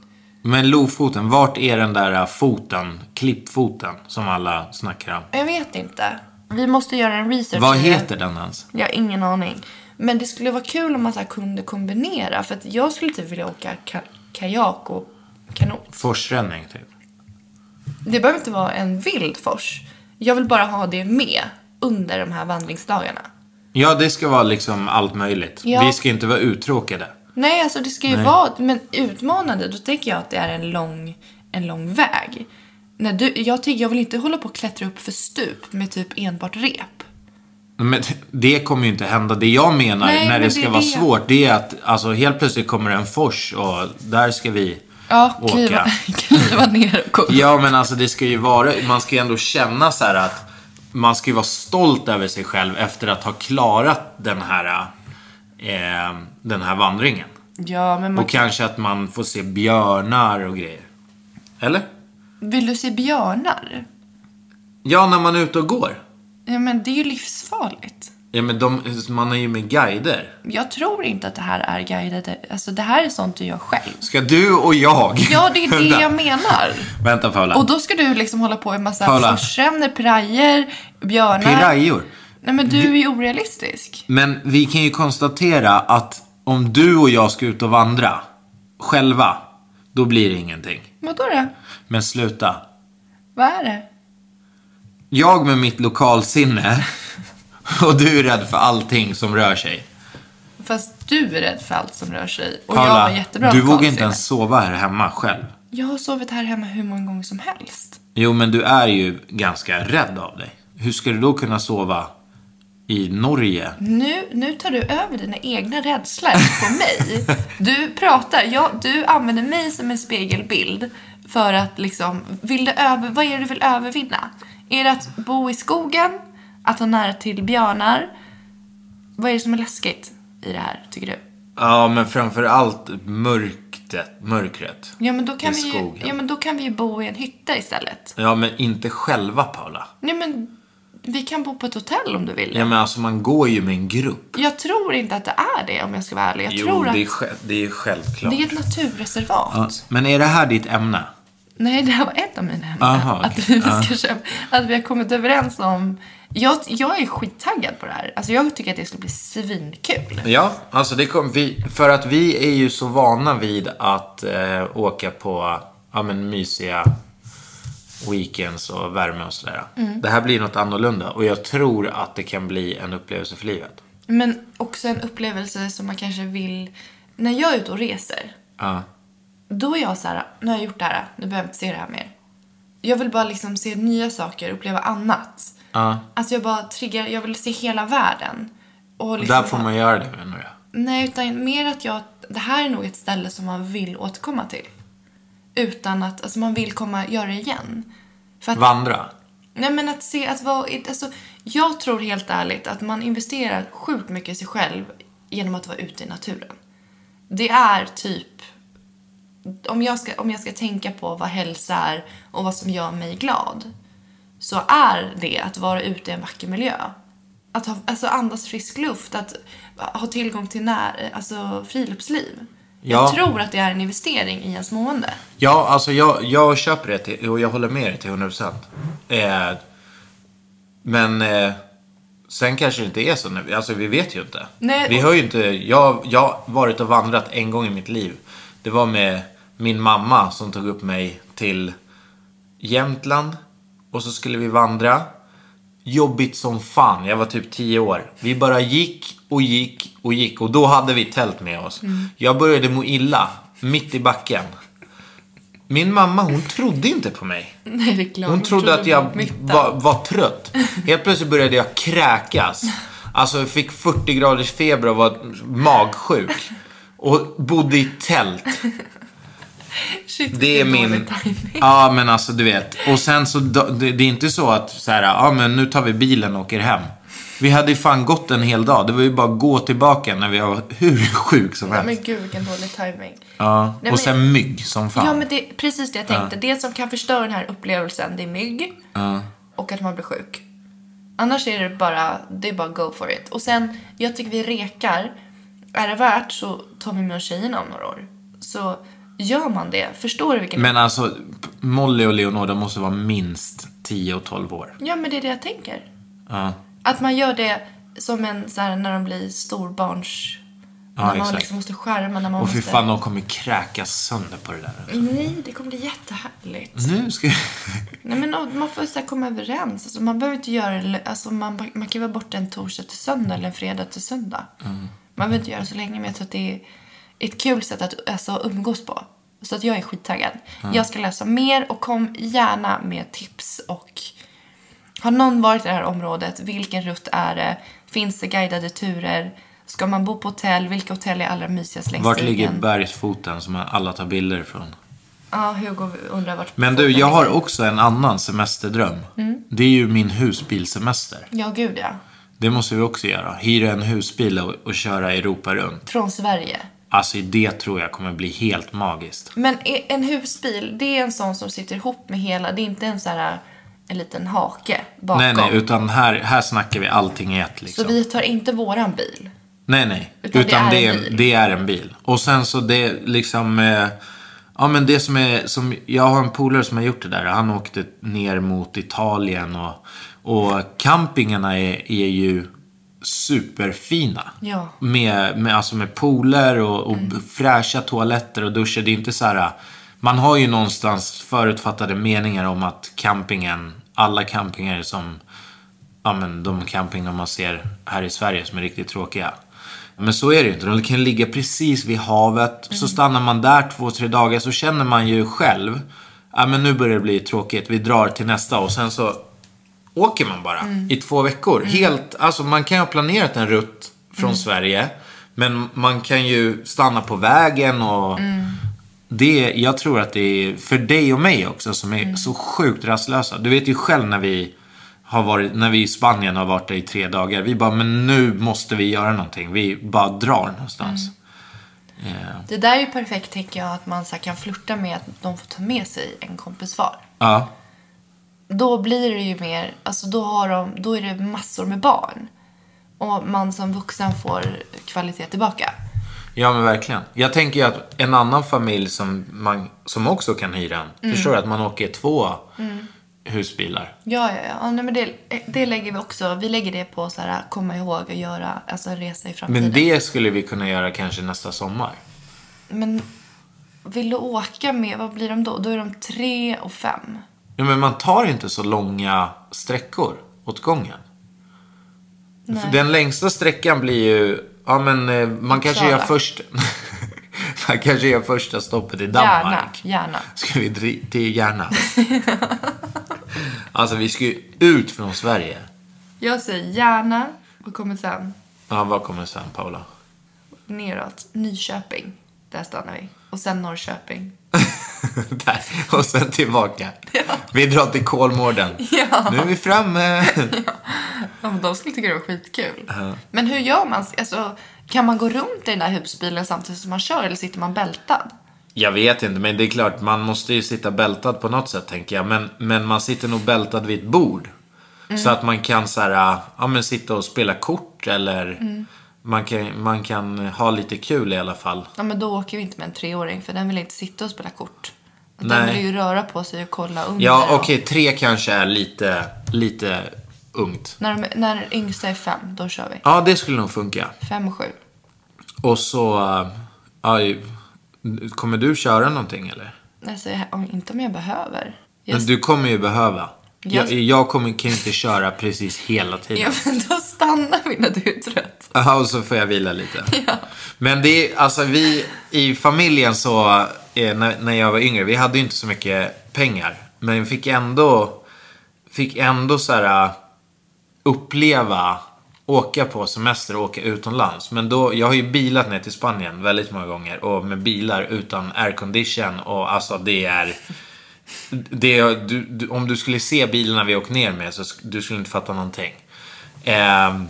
D: Men Lofoten, vart är den där eh, foten, klippfoten, som alla snackar om?
E: Jag vet inte. Vi måste göra en research.
D: Vad heter den ens?
E: Jag har ingen aning. Men det skulle vara kul om man så här kunde kombinera. För att jag skulle typ vilja åka ka- kajak och kanot.
D: Forsränning, typ.
E: Det behöver inte vara en vild fors. Jag vill bara ha det med under de här vandringsdagarna.
D: Ja, det ska vara liksom allt möjligt.
E: Ja.
D: Vi ska inte vara uttråkade.
E: Nej, alltså det ska ju vara men utmanande. Då tänker jag att det är en lång, en lång väg. När du, jag, tänker, jag vill inte hålla på och klättra upp för stup med typ enbart rep.
D: Men det kommer ju inte hända. Det jag menar
E: Nej,
D: när
E: men
D: det
E: det
D: ska
E: är
D: vara
E: det.
D: svårt, det är att alltså, helt plötsligt kommer en fors och där ska vi
E: Ja,
D: åka.
E: kliva, kliva ner och kolla.
D: Ja, men alltså det ska ju vara, man ska ju ändå känna så här att man ska ju vara stolt över sig själv efter att ha klarat den här, eh, den här vandringen.
E: Ja, men man,
D: Och kanske att man får se björnar och grejer. Eller?
E: vill du se björnar?
D: Ja, när man är ute och går.
E: Ja, men det är ju livsfarligt.
D: Ja, men de, man är ju med guider.
E: Jag tror inte att det här är guidade. Alltså, det här är sånt du gör själv.
D: Ska du och jag...
E: Ja, det är det jag menar.
D: Vänta Paula.
E: Och då ska du liksom hålla på i massa
D: Paula.
E: forsränder, pirajer, björnar.
D: Pirajor.
E: Nej, men du är ju orealistisk.
D: Men vi kan ju konstatera att om du och jag ska ut och vandra själva, då blir det ingenting.
E: Vadå då?
D: Men sluta.
E: Vad är det?
D: Jag med mitt lokalsinne och du är rädd för allting som rör sig.
E: Fast du är rädd för allt som rör sig. Och jag har
D: Paula,
E: jättebra
D: du vågar
E: lokalsinne.
D: inte ens sova här hemma själv.
E: Jag har sovit här hemma hur många gånger som helst.
D: Jo, men du är ju ganska rädd av dig. Hur ska du då kunna sova i Norge?
E: Nu, nu tar du över dina egna rädslor på mig. Du pratar, jag, du använder mig som en spegelbild för att liksom, vill du över, vad är det du vill övervinna? Är det att bo i skogen? Att ha nära till björnar? Vad är det som är läskigt i det här, tycker du?
D: Ja, men framför allt mörkret. mörkret.
E: Ja men, då kan
D: I
E: vi ju,
D: skogen.
E: ja, men då kan vi ju bo i en hytta istället.
D: Ja, men inte själva, Paula.
E: Nej, men vi kan bo på ett hotell om du vill.
D: Ja, men alltså man går ju med en grupp.
E: Jag tror inte att det är det om jag ska vara ärlig. Jag
D: jo,
E: tror att
D: det, är, sj- det är självklart.
E: det är ett naturreservat.
D: Ja, men är det här ditt ämne?
E: Nej, det här var ett av mina ämnen.
D: Aha,
E: att,
D: okej.
E: vi ska köpa, att vi har kommit överens om... Jag, jag är skittaggad på det här. Alltså, jag tycker att det ska bli svinkul.
D: Ja, alltså det kom, vi, för att vi är ju så vana vid att eh, åka på ja, men mysiga weekends och värme och sådär.
E: Mm.
D: Det här blir något annorlunda och jag tror att det kan bli en upplevelse för livet.
E: Men också en upplevelse som man kanske vill... När jag är ute och reser,
D: Ja.
E: då är jag så här, nu har jag gjort det här, nu behöver jag inte se det här mer. Jag vill bara liksom se nya saker, uppleva annat.
D: Ja.
E: Alltså jag bara triggar, jag vill se hela världen. Och
D: Och
E: liksom
D: där får man göra det menar jag.
E: Nej, utan mer att jag... Det här är nog ett ställe som man vill återkomma till. Utan att... Alltså man vill komma göra det igen. För att,
D: Vandra.
E: Nej, men att se att vara... Alltså, jag tror helt ärligt att man investerar sjukt mycket i sig själv genom att vara ute i naturen. Det är typ... Om jag ska, om jag ska tänka på vad hälsa är och vad som gör mig glad så är det att vara ute i en vacker miljö. Att ha, alltså andas frisk luft, att ha tillgång till när, alltså friluftsliv.
D: Ja.
E: Jag tror att det är en investering i ens mående.
D: Ja, alltså jag, jag köper det till, och jag håller med dig till 100%. Eh, men eh, sen kanske det inte är så. Nu. Alltså vi vet ju inte.
E: Nej,
D: vi
E: och-
D: har ju inte, jag, jag har varit och vandrat en gång i mitt liv. Det var med min mamma som tog upp mig till Jämtland. Och så skulle vi vandra. Jobbigt som fan. Jag var typ 10 år. Vi bara gick och gick och gick. Och då hade vi tält med oss.
E: Mm.
D: Jag började må illa. Mitt i backen. Min mamma hon trodde inte på mig.
E: Nej, det är klart.
D: Hon trodde att jag
E: var...
D: var, var trött. Helt plötsligt började jag kräkas. Alltså jag fick 40 graders feber och var magsjuk. Och bodde i tält.
E: Shit,
D: Det är min... Ja men alltså du vet. Och sen så, det det är inte så att så här, ja men nu tar vi bilen och åker hem. Vi hade ju fan gått en hel dag. Det var ju bara att gå tillbaka när vi var hur sjuk som helst.
E: Men gud, vilken dålig timing.
D: Ja,
E: Nej, men-
D: och sen mygg som fan.
E: Ja, men det är precis det jag tänkte. Det som kan förstöra den här upplevelsen, det är mygg och att man blir sjuk. Annars är det bara, det är bara go for it. Och sen, jag tycker vi rekar. Är det värt så tar vi med oss tjejerna om några år. Så gör man det, förstår du vilken...
D: Men alltså, p- Molly och Leonora måste vara minst 10 och 12 år.
E: Ja, men det är det jag tänker.
D: Ja,
E: Att man gör det som en så här när de blir storbarns...
D: Ja,
E: när man
D: exakt.
E: liksom måste skärma, när man
D: Och fy
E: måste... Mm.
D: fan, de kommer kräkas sönder på det där.
E: Nej, det kommer bli jättehärligt.
D: Nu ska
E: Nej men och man får så här komma överens. Alltså, man behöver inte göra det- alltså, man, man kan vara borta en torsdag till söndag eller en fredag till söndag.
D: Mm.
E: Man behöver inte göra det så länge men jag tror att det är ett kul sätt att alltså, umgås på. Så att jag
D: Mm.
E: är skittaggad. Jag ska läsa mer och kom gärna med tips och Har någon varit i det här området? Vilken rutt är det? Finns det guidade turer? Ska man bo på hotell? Vilka hotell är allra mysigast längs
D: Vart
E: stigen?
D: ligger bergsfoten som alla tar bilder ifrån?
E: Ja, Hugo undrar vart
D: Men du, jag har också en annan semesterdröm.
E: Mm.
D: Det är ju min husbilsemester.
E: Ja, gud ja.
D: Det måste vi också göra. Hyra en husbil och, och köra Europa runt.
E: Från Sverige.
D: Alltså det tror jag kommer bli helt magiskt.
E: Men e- en husbil, det är en sån som sitter ihop med hela. Det är inte en så här en liten hake bakom.
D: Nej, nej, utan här, här snackar vi allting i ett
E: Så
D: liksom.
E: vi tar inte våran bil.
D: Nej, nej.
E: Utan
D: Utan, det,
E: det är
D: är
E: en
D: en,
E: bil.
D: det är en bil. Och sen så det liksom... Eh, ja, men det som är... Som, jag har en polare som har gjort det där. Han åkte ner mot Italien och... Och campingarna är, är ju superfina.
E: Ja.
D: Med, med, alltså med pooler och, och fräscha toaletter och duschar. Det är inte så här... Man har ju någonstans förutfattade meningar om att campingen... Alla campingar som ja, men de campingar man ser här i Sverige som är riktigt tråkiga. Men så är det ju inte. De kan ligga precis vid havet. Så stannar man där två, tre dagar så känner man ju själv. Ja, men nu börjar det bli tråkigt. Vi drar till nästa och sen så åker man bara i två veckor. Helt, alltså man kan ju ha planerat en rutt från Sverige. Men man kan ju stanna på vägen och det, jag tror att det är för dig och mig också som är så sjukt rastlösa. Du vet ju själv när vi har varit, när vi i Spanien har varit där i tre dagar. Vi bara, men nu måste vi göra någonting. Vi bara drar någonstans.
E: Det där är ju perfekt tänker jag att man så här, kan flirta med att de får ta med sig en kompis var.
D: Ja.
E: Då blir det ju mer, alltså då har de, då är det massor med barn. Och man som vuxen får kvalitet tillbaka.
D: ja, men verkligen. Jag tänker ju att en annan familj som, man, som också kan hyra en. Förstår du? Att man åker två husbilar.
E: Ja, ja, ja. ja nej, men det, det lägger vi också, vi lägger det på så här, komma ihåg och göra, alltså en resa i framtiden.
D: Men det skulle vi kunna göra kanske nästa sommar.
E: Men vill du åka med, vad blir de då? Då är de tre och fem.
D: Ja, men man tar inte så långa sträckor åt gången. För Den längsta sträckan blir ju... Ja, men eh, man kanske gör
E: Uppsala.
D: först... man kanske gör första stoppet i Danmark.
E: Gärna, gärna.
D: Ska vi dri- till Järna? alltså, vi ska ju ut från Sverige.
E: Jag säger gärna, och kommer sen
D: Ja, vad kommer sen, Paula?
E: neråt, Nyköping. Där stannar vi. Och sen Norrköping.
D: Där. Och sen tillbaka. Vi drar till Kolmården. Nu är vi framme.
E: Ja, men de skulle tycka det var skitkul. Men hur gör man? Alltså, kan man gå runt i den där husbilen samtidigt som man kör eller sitter man bältad?
D: Jag vet inte, men det är klart, man måste ju sitta bältad på något sätt tänker jag. Men, men man sitter nog bältad vid ett bord. Så att man kan så här, ah, ja men sitta och spela kort eller man, kan, man kan ha lite kul i alla fall.
E: Ja, men då åker vi inte med en treåring för den vill inte sitta och spela kort. Den
D: Nej.
E: vill ju röra på sig och kolla under.
D: Ja,
E: och-
D: okej, tre kanske är lite, lite ungt.
E: När, de, när yngsta är fem, då kör vi.
D: Ja, det skulle nog funka.
E: Fem och sju.
D: Och så, eh, ja, kommer du köra någonting eller?
E: Alltså, jag, inte om jag behöver. Jag,
D: Men du kommer ju behöva.
E: Jag-
D: Jag, jag kommer, kan ju inte köra precis hela tiden.
E: ja, men då stannar vi när du är trött.
D: Ja, och så får jag vila lite. Men det är, alltså vi i familjen så, eh, när, när jag var yngre, vi hade ju inte så mycket pengar. Men vi fick ändå, fick ändå så här eh, uppleva, åka på semester och åka utomlands. Men då, jag har ju bilat ner till Spanien väldigt många gånger och med bilar utan aircondition och alltså det är det, är- du, du, om du skulle se bilarna vi åkt ner med så sk- du skulle inte fatta någonting. Ehm,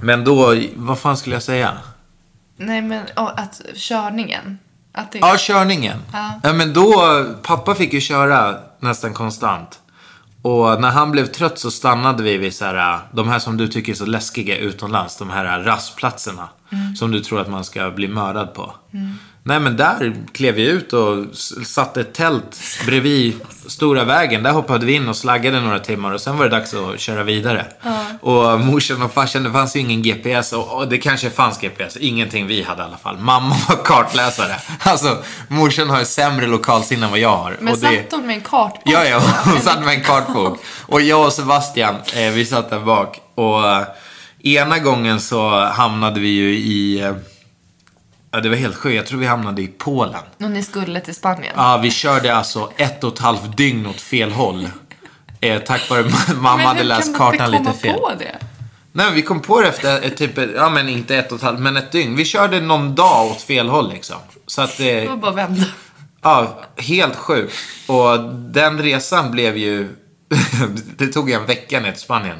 D: men då, vad fan skulle jag säga?
E: Nej, men och att körningen. Att det,
D: Ja, körningen.
E: Ja.
D: men då, pappa fick ju köra nästan konstant. Och när han blev trött så stannade vi vid så här, de här som du tycker är så läskiga utomlands, de här rastplatserna. Som du tror att man ska bli mördad på. Nej men där klev vi ut och s- satte ett tält bredvid stora vägen. Där hoppade vi in och slaggade några timmar och sen var det dags att köra vidare. Och morsan och farsan, det fanns ju ingen GPS och, och det kanske fanns GPS. Ingenting vi hade i alla fall. Mamma var kartläsare. Alltså, morsan har ju sämre lokalsinne än vad jag har.
E: men
D: och det...
E: satt hon med en kartbok?
D: Ja, ja, hon satt med en kartbok. Och jag och Sebastian, eh, vi satt där bak. Och eh, ena gången så hamnade vi ju i... Eh, ja, det var helt sjukt. Jag tror vi hamnade i Polen. Ah,
E: Och ni skulle till Spanien?
D: Ja, vi körde alltså ett och ett halvt dygn åt fel håll. Eh, tack vare mamma hade läst kartan lite fel.
E: på det?
D: Nej, vi kom på det efter eh, typ, eh, ja men inte ett och ett halvt, men ett dygn. Vi körde någon dag åt fel håll liksom. Så att,
E: Det
D: eh,
E: var bara att vända.
D: ja, helt sjukt. Och den resan blev ju, det tog en vecka ner till Spanien.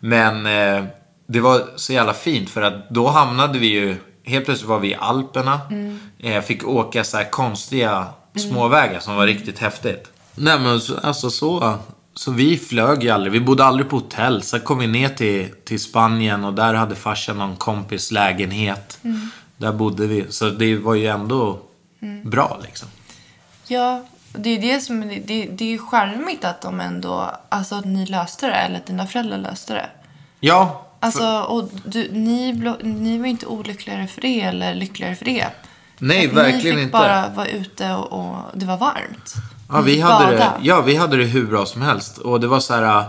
D: Men eh, det var så jävla fint för att då hamnade vi ju, helt plötsligt var vi i Alperna. Eh, fick åka så här konstiga småvägar som var riktigt häftigt. Nej men så- alltså så, så vi flög ju aldrig. Vi bodde aldrig på hotell. Sen kom vi ner till, till Spanien och där hade farsan någon kompis lägenhet. Där bodde vi. Så det var ju ändå bra liksom.
E: Ja, det är ju det som det, det, det är ju charmigt att de ändå, alltså att ni löste det eller att dina föräldrar löste det.
D: Ja,
E: Alltså, och du, ni, blo- ni var ju inte olyckligare för det eller lyckligare för det.
D: Nej,
E: Att
D: verkligen
E: Ni fick
D: inte.
E: bara vara ute och, och det var varmt.
D: Ja,
E: Ni
D: vi
E: fick
D: hade, det,
E: bada.
D: ja, vi hade det hur bra som helst. Och det var så här... äh,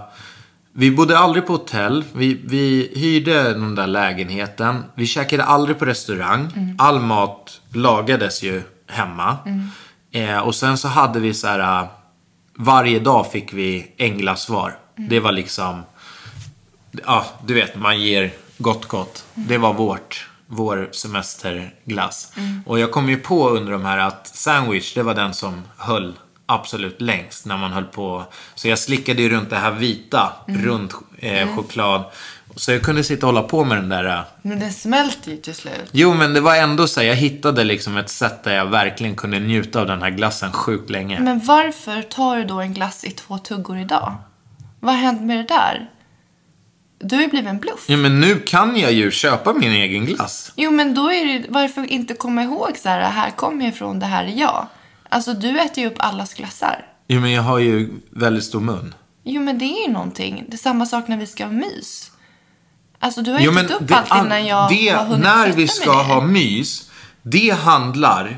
D: Vi bodde aldrig på hotell. Vi, vi hyrde den där lägenheten. Vi käkade aldrig på restaurang.
E: Mm.
D: All mat lagades ju hemma. Eh, och sen så hade vi så här... äh, Varje dag fick vi änglasvar.
E: Mm.
D: Det var liksom... Ja, du vet, man ger gott gott. Det var vårt, vår semesterglass. Och jag kom ju på under de här att sandwich, det var den som höll absolut längst när man höll på. Så jag slickade ju runt det här vita, runt eh, choklad. Så jag kunde sitta och hålla på med den där eh,
E: Men det smälte ju till slut.
D: Jo, men det var ändå så här, jag hittade liksom ett sätt där jag verkligen kunde njuta av den här glassen sjukt länge.
E: Men varför tar du då en glass i två tuggor idag? Vad har hänt med det där? Du har ju blivit en bluff.
D: Ja, men nu kan jag ju köpa min egen glass.
E: Jo, men då är det varför inte komma ihåg så här, här kommer jag ifrån, det här är jag. Alltså, du äter ju upp allas glassar.
D: Jo, men jag har ju väldigt stor mun.
E: Jo, men det är ju någonting. Det är samma sak när vi ska ha mys. Alltså, du har ju
D: Jo,
E: ätit
D: men
E: upp
D: det,
E: allt innan jag
D: det,
E: har hunnit
D: när
E: sätta
D: vi
E: mig
D: ska
E: ner.
D: ha mys, det handlar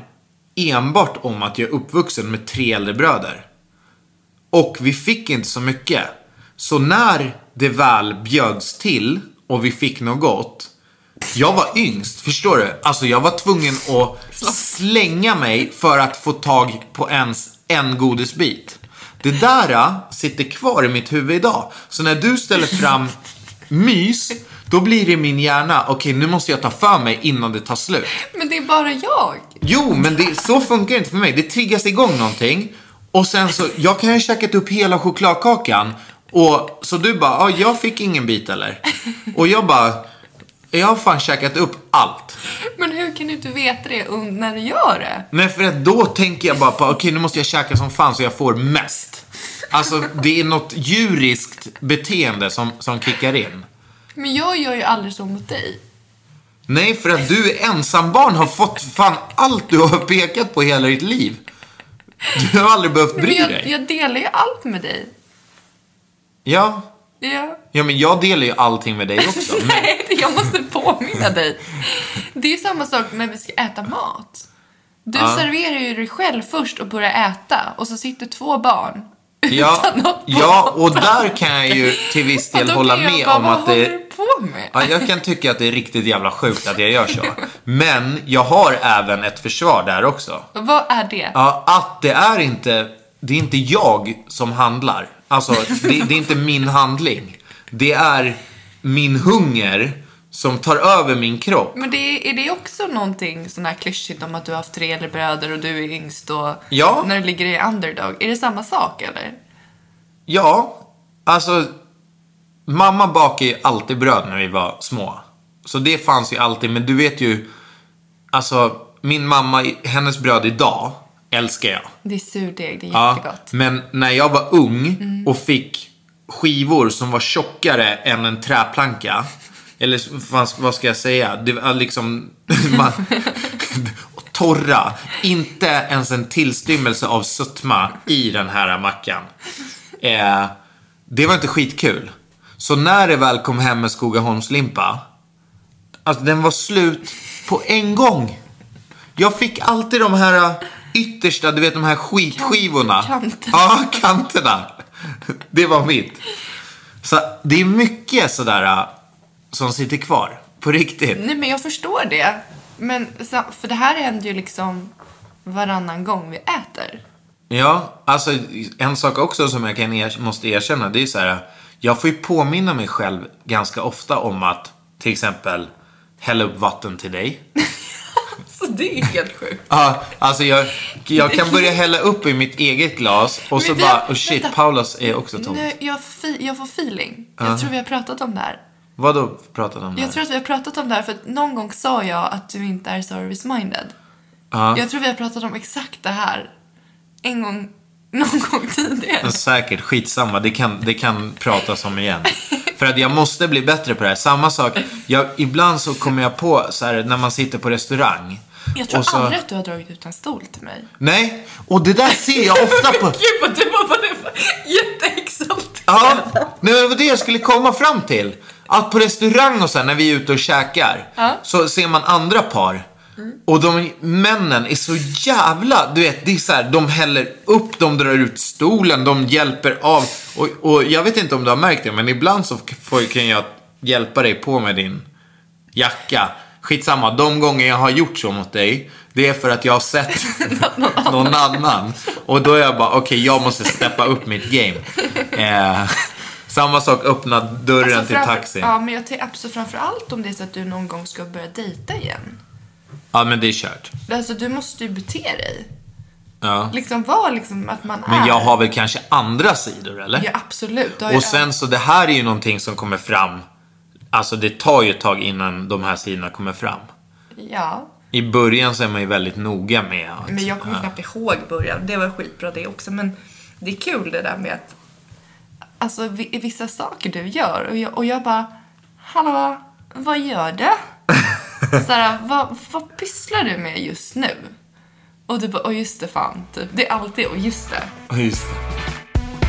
D: enbart om att jag är uppvuxen med tre äldre bröder. Och vi fick inte så mycket. Så när det väl bjöds till och vi fick något gott, jag var yngst, förstår du? Alltså jag var tvungen att slänga mig för att få tag på ens en godisbit. Det där äh, sitter kvar i mitt huvud idag. Så när du ställer fram mys, då blir det i min hjärna, okej nu måste jag ta för mig innan det tar slut.
E: Men det är bara jag.
D: Jo, men det, så funkar det inte för mig. Det triggas igång någonting. Och sen så, jag kan ju ha käkat upp hela chokladkakan. Och så du bara, ah, jag fick ingen bit eller? Och jag bara, jag har fan käkat upp allt.
E: Men hur kan du inte veta det un- när du gör det?
D: Nej, för att då tänker jag bara på, okej nu måste jag käka som fan så jag får mest. Alltså, det är något djuriskt beteende som, som kickar in.
E: Men jag gör ju aldrig så mot dig.
D: Nej, för att du är ensambarn har fått fan allt du har pekat på hela ditt liv. Du har aldrig behövt
E: Men
D: bry
E: jag,
D: dig.
E: jag delar ju allt med dig.
D: Ja,
E: Ja.
D: Ja, men jag delar ju allting med dig också. Men,
E: Nej, det- jag måste påminna dig. Det är ju samma sak när vi ska äta mat. Du serverar ju dig själv först och börjar äta och så sitter två barn
D: ja,
E: utan något på
D: ja, och
E: mattan.
D: där kan jag ju till viss
E: Och
D: del
E: då
D: hålla
E: kan jag
D: med
E: bara,
D: om
E: vad
D: att det...
E: håller du på med?
D: Ja, jag kan tycka att det är riktigt jävla sjukt att jag gör så. Men jag har även ett försvar där också.
E: Vad är det?
D: Ja, att det är inte... Det är inte jag som handlar. Alltså, det, det är inte min handling. Det är min hunger som tar över min kropp.
E: Men det, är det också någonting sån här klyschigt om att du har haft tre äldre bröder och du är yngst och
D: Ja.
E: när du ligger i underdog? Är det samma sak eller?
D: Ja, alltså mamma bakade ju alltid bröd när vi var små. Så det fanns ju alltid, men du vet ju, alltså min mamma, hennes bröd idag älskar jag.
E: Det är surdeg, det är jättegott.
D: men när jag var ung och fick skivor som var tjockare än en träplanka, eller vad- vad ska jag säga, det var liksom, man, torra, inte ens en tillstymmelse av sötma i den här mackan. Eh, det var inte skitkul. Så när det väl kom hem med Skogaholmslimpa, alltså den var slut på en gång. Jag fick alltid de här ä, yttersta, du vet de här skitskivorna.
E: Kanterna.
D: Ja, kanterna. Det var mitt. Så det är mycket sådär ä, som sitter kvar. På riktigt.
E: Nej men jag förstår det. Men, sa- för det här händer ju liksom varannan gång vi äter.
D: Ja, alltså en sak också som jag kan er, måste erkänna det är så här. Jag får ju påminna mig själv ganska ofta om att till exempel hälla upp vatten till dig.
E: Så det är helt sjukt.
D: Ja, alltså jag, jag kan börja hälla upp i mitt eget glas och så
E: Men vi
D: bara,
E: har-
D: oh shit,
E: vänta.
D: Paulas är också tom.
E: Nu, jag, fi, jag får feeling. Jag tror vi har pratat om det här.
D: Vadå pratade om det här?
E: Jag tror att vi har pratat om det här för att någon gång sa jag att du inte är service-minded.
D: Ja,
E: Jag tror vi har pratat om exakt det här en gång, någon gång tidigare.
D: men säkert, skitsamma, det kan, det kan pratas om igen. För att jag måste bli bättre på det här. Samma sak, jag, ibland så kommer jag på så här när man sitter på restaurang.
E: Jag tror
D: och så-
E: aldrig att du har dragit ut en stol till mig.
D: Nej, och det där ser jag ofta på.
E: Gud vad du var bara jätteexalterad.
D: Ja, nej, men det var det jag skulle komma fram till. Att på restaurang och så här, när vi är ute och käkar, så ser man andra par. Och de männen är så jävla, du vet, det är så här, de häller upp, de drar ut stolen, de hjälper av. Och, och jag vet inte om du har märkt det, men ibland så får, kan jag hjälpa dig på med din jacka. Skitsamma, de gånger jag har gjort så mot dig, det är för att jag har sett någon annan. Och då är jag bara, okej, jag måste steppa upp mitt game. Eh, samma sak, öppna dörren till
E: Alltså, framför-
D: taxin.
E: Ja, men jag tänker absolut framför allt om det är så att du någon gång ska börja dejta igen.
D: Ja, men det är kört.
E: Alltså, du måste ju bete dig.
D: Ja.
E: Liksom vara liksom att man är.
D: Men jag har väl kanske andra sidor, eller?
E: Ja, absolut. Du har ju
D: Och sen så, det här är ju någonting som kommer fram. Alltså, det tar ju ett tag innan de här sidorna kommer fram.
E: Ja.
D: I början så är man ju väldigt noga med att...
E: Men jag kommer
D: ja.
E: knappt ihåg början. Det var skitbra det också. Men det är kul det där med att... Alltså vi- vissa saker du gör och jag, och jag bara... Hallå, vad gör du? Såhär, vad, vad pysslar du med just nu? Och du bara, åh just det fan. Typ. Det är alltid, åh just det.
D: Just det.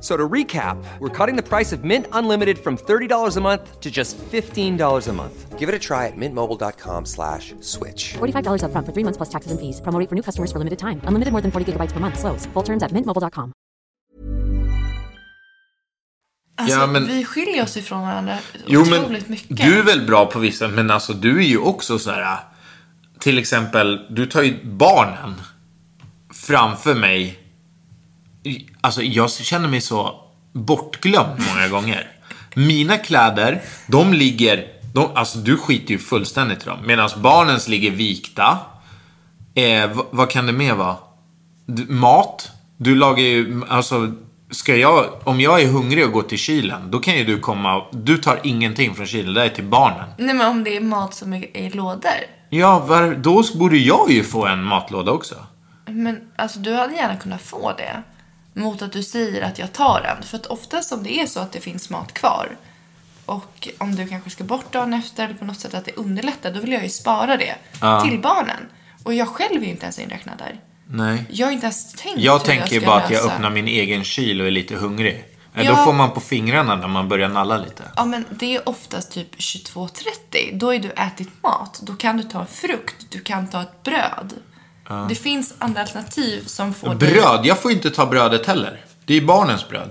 A: So to recap, we're cutting the price of Mint Unlimited from $30 a month to just $15 a month. Give it a try at mintmobile.com slash switch.
C: $45 upfront for three months plus taxes and fees. Promo rate for new customers for limited time. Unlimited more than 40 gigabytes per month. Slows. Full terms at mintmobile.com.
E: Alltså
D: Ja, men-
E: vi skiljer oss ifrån varandra
D: Jo, men
E: otroligt mycket.
D: du är väl bra på vissa, men alltså du är ju också så här. Till exempel, du tar ju barnen framför mig. I- Alltså jag känner mig så bortglömd många gånger. Mina kläder, de ligger, de, alltså du skiter ju fullständigt i dem. Medan barnens ligger vikta. Eh, v- vad kan det mer vara? D- mat. Du lagar ju, alltså, ska jag, om jag är hungrig och går till kylen, då kan ju du komma, du tar ingenting från kylen, det är till barnen.
E: Nej men om det är mat som är i lådor.
D: Ja, var, då borde jag ju få en matlåda också.
E: Men alltså du hade gärna kunnat få det. Mot att du säger att jag tar den. För att oftast om det är så att det finns mat kvar. Och om du kanske ska bort dagen efter eller på något sätt att det underlättar. Då vill jag ju spara det till barnen. Och jag själv är ju inte ens inräknad där.
D: Nej.
E: Jag har inte ens tänkt
D: Jag
E: hur
D: tänker ju
E: ska
D: bara att jag
E: lösa-
D: öppnar min egen kyl och är lite hungrig. Eh, Då
E: Ja.
D: får man på fingrarna när man börjar nalla lite.
E: Ja men det är oftast typ 22.30. Då är du ätit mat. Då kan du ta en frukt. Du kan ta ett bröd. Det finns andra alternativ som får dig-
D: Bröd, jag får ju inte ta brödet heller. Det är ju barnens bröd.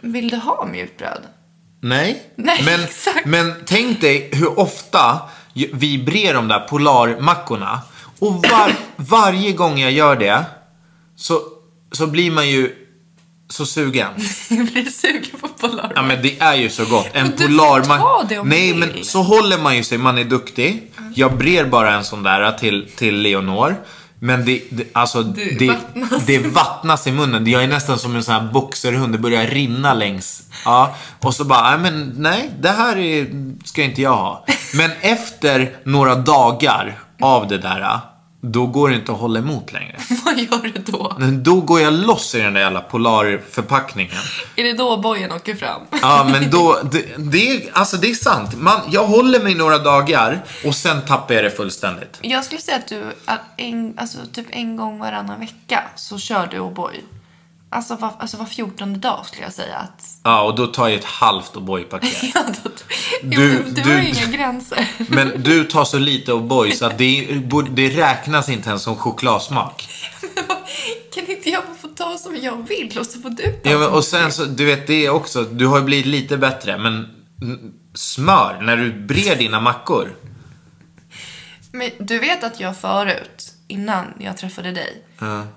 E: Vill du ha mjukt bröd?
D: Nej.
E: Nej,
D: men,
E: exakt.
D: men tänk dig hur ofta ju- vi brer de där polarmackorna. Och var, varje gång jag gör det så, så blir man ju så sugen.
E: Jag blir sugen på Polar.
D: Ja men det är ju så gott. En
E: Men du får
D: Polarman-
E: ta det om du
D: Nej
E: vill.
D: men så håller man ju sig, man är duktig. Jag brer bara en sån där till, till Leonor. Men det, det alltså det,
E: vattnas.
D: det vattnas i munnen. Jag är nästan som en sån här boxerhund, det börjar rinna längs. Ja, och så bara, nej men nej, det här är, ska inte jag ha. Men efter några dagar av det där, då går det inte att hålla emot längre.
E: Vad gör du då?
D: Men Då går jag loss i den där jävla Polarförpackningen.
E: Är det då bojen åker fram?
D: Ja, men då, det, det, är- alltså det är sant. Man, jag håller mig några dagar och sen tappar jag det fullständigt.
E: Jag skulle säga att du att en, alltså, typ en gång varannan vecka så kör du O'boy. Alltså, var- alltså var fjortonde dag skulle jag säga att...
D: Ja, och då tar jag ett halvt O'boy-paket.
E: Ja, då, du,
D: Du-
E: du, du
D: du-
E: har ju inga gränser.
D: Men du tar så lite O'boy så att det, borde- det räknas inte ens som chokladsmak.
E: kan inte jag bara få ta som jag vill och så får du ta
D: Ja, men,
E: som
D: och
E: du
D: sen
E: vill?
D: så, du vet det är också, du har ju blivit lite bättre, men mm, smör när du brer dina mackor.
E: Men du vet att jag förut, innan jag träffade dig,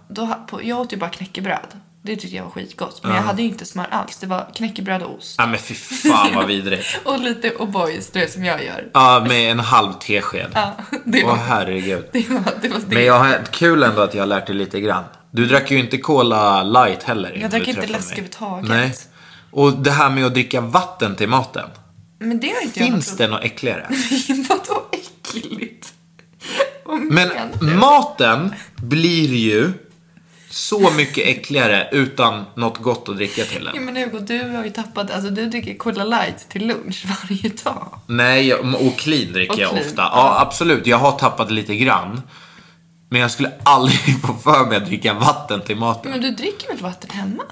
E: då, ha- på, jag åt ju bara knäckebröd. Det tyckte jag var skitgott. Men jag hade ju inte smör alls. Det var knäckebröd och ost.
D: Ja, men fy fan vad vidrigt.
E: Och lite O'boys, du vet som jag gör.
D: Ja, med en halv tesked.
E: Ja, det
D: Åh
E: var...
D: herregud.
E: Det var, det var det.
D: Men jag har, kul ändå att jag har lärt dig lite grann. Du drack ju inte Cola light heller. innan
E: drack
D: du
E: inte
D: träffade
E: läsk
D: mig.
E: överhuvudtaget.
D: Nej. Och det här med att dricka vatten till maten.
E: Men det har inte
D: Finns det
E: jag
D: något äckligare?
E: något Vadå äckligt? Vad
D: Men Mm.
E: menar du?
D: maten blir ju så mycket äckligare utan något gott att dricka till
E: Ja,
D: den.
E: men Hugo, du har ju tappat, alltså du dricker Cola light till lunch varje dag.
D: Nej, jag- och clean dricker
E: Och
D: jag
E: clean,
D: ofta. Ja, absolut. Jag har tappat lite grann. Men jag skulle aldrig få för mig att dricka vatten till maten.
E: Men du dricker väl vatten hemma?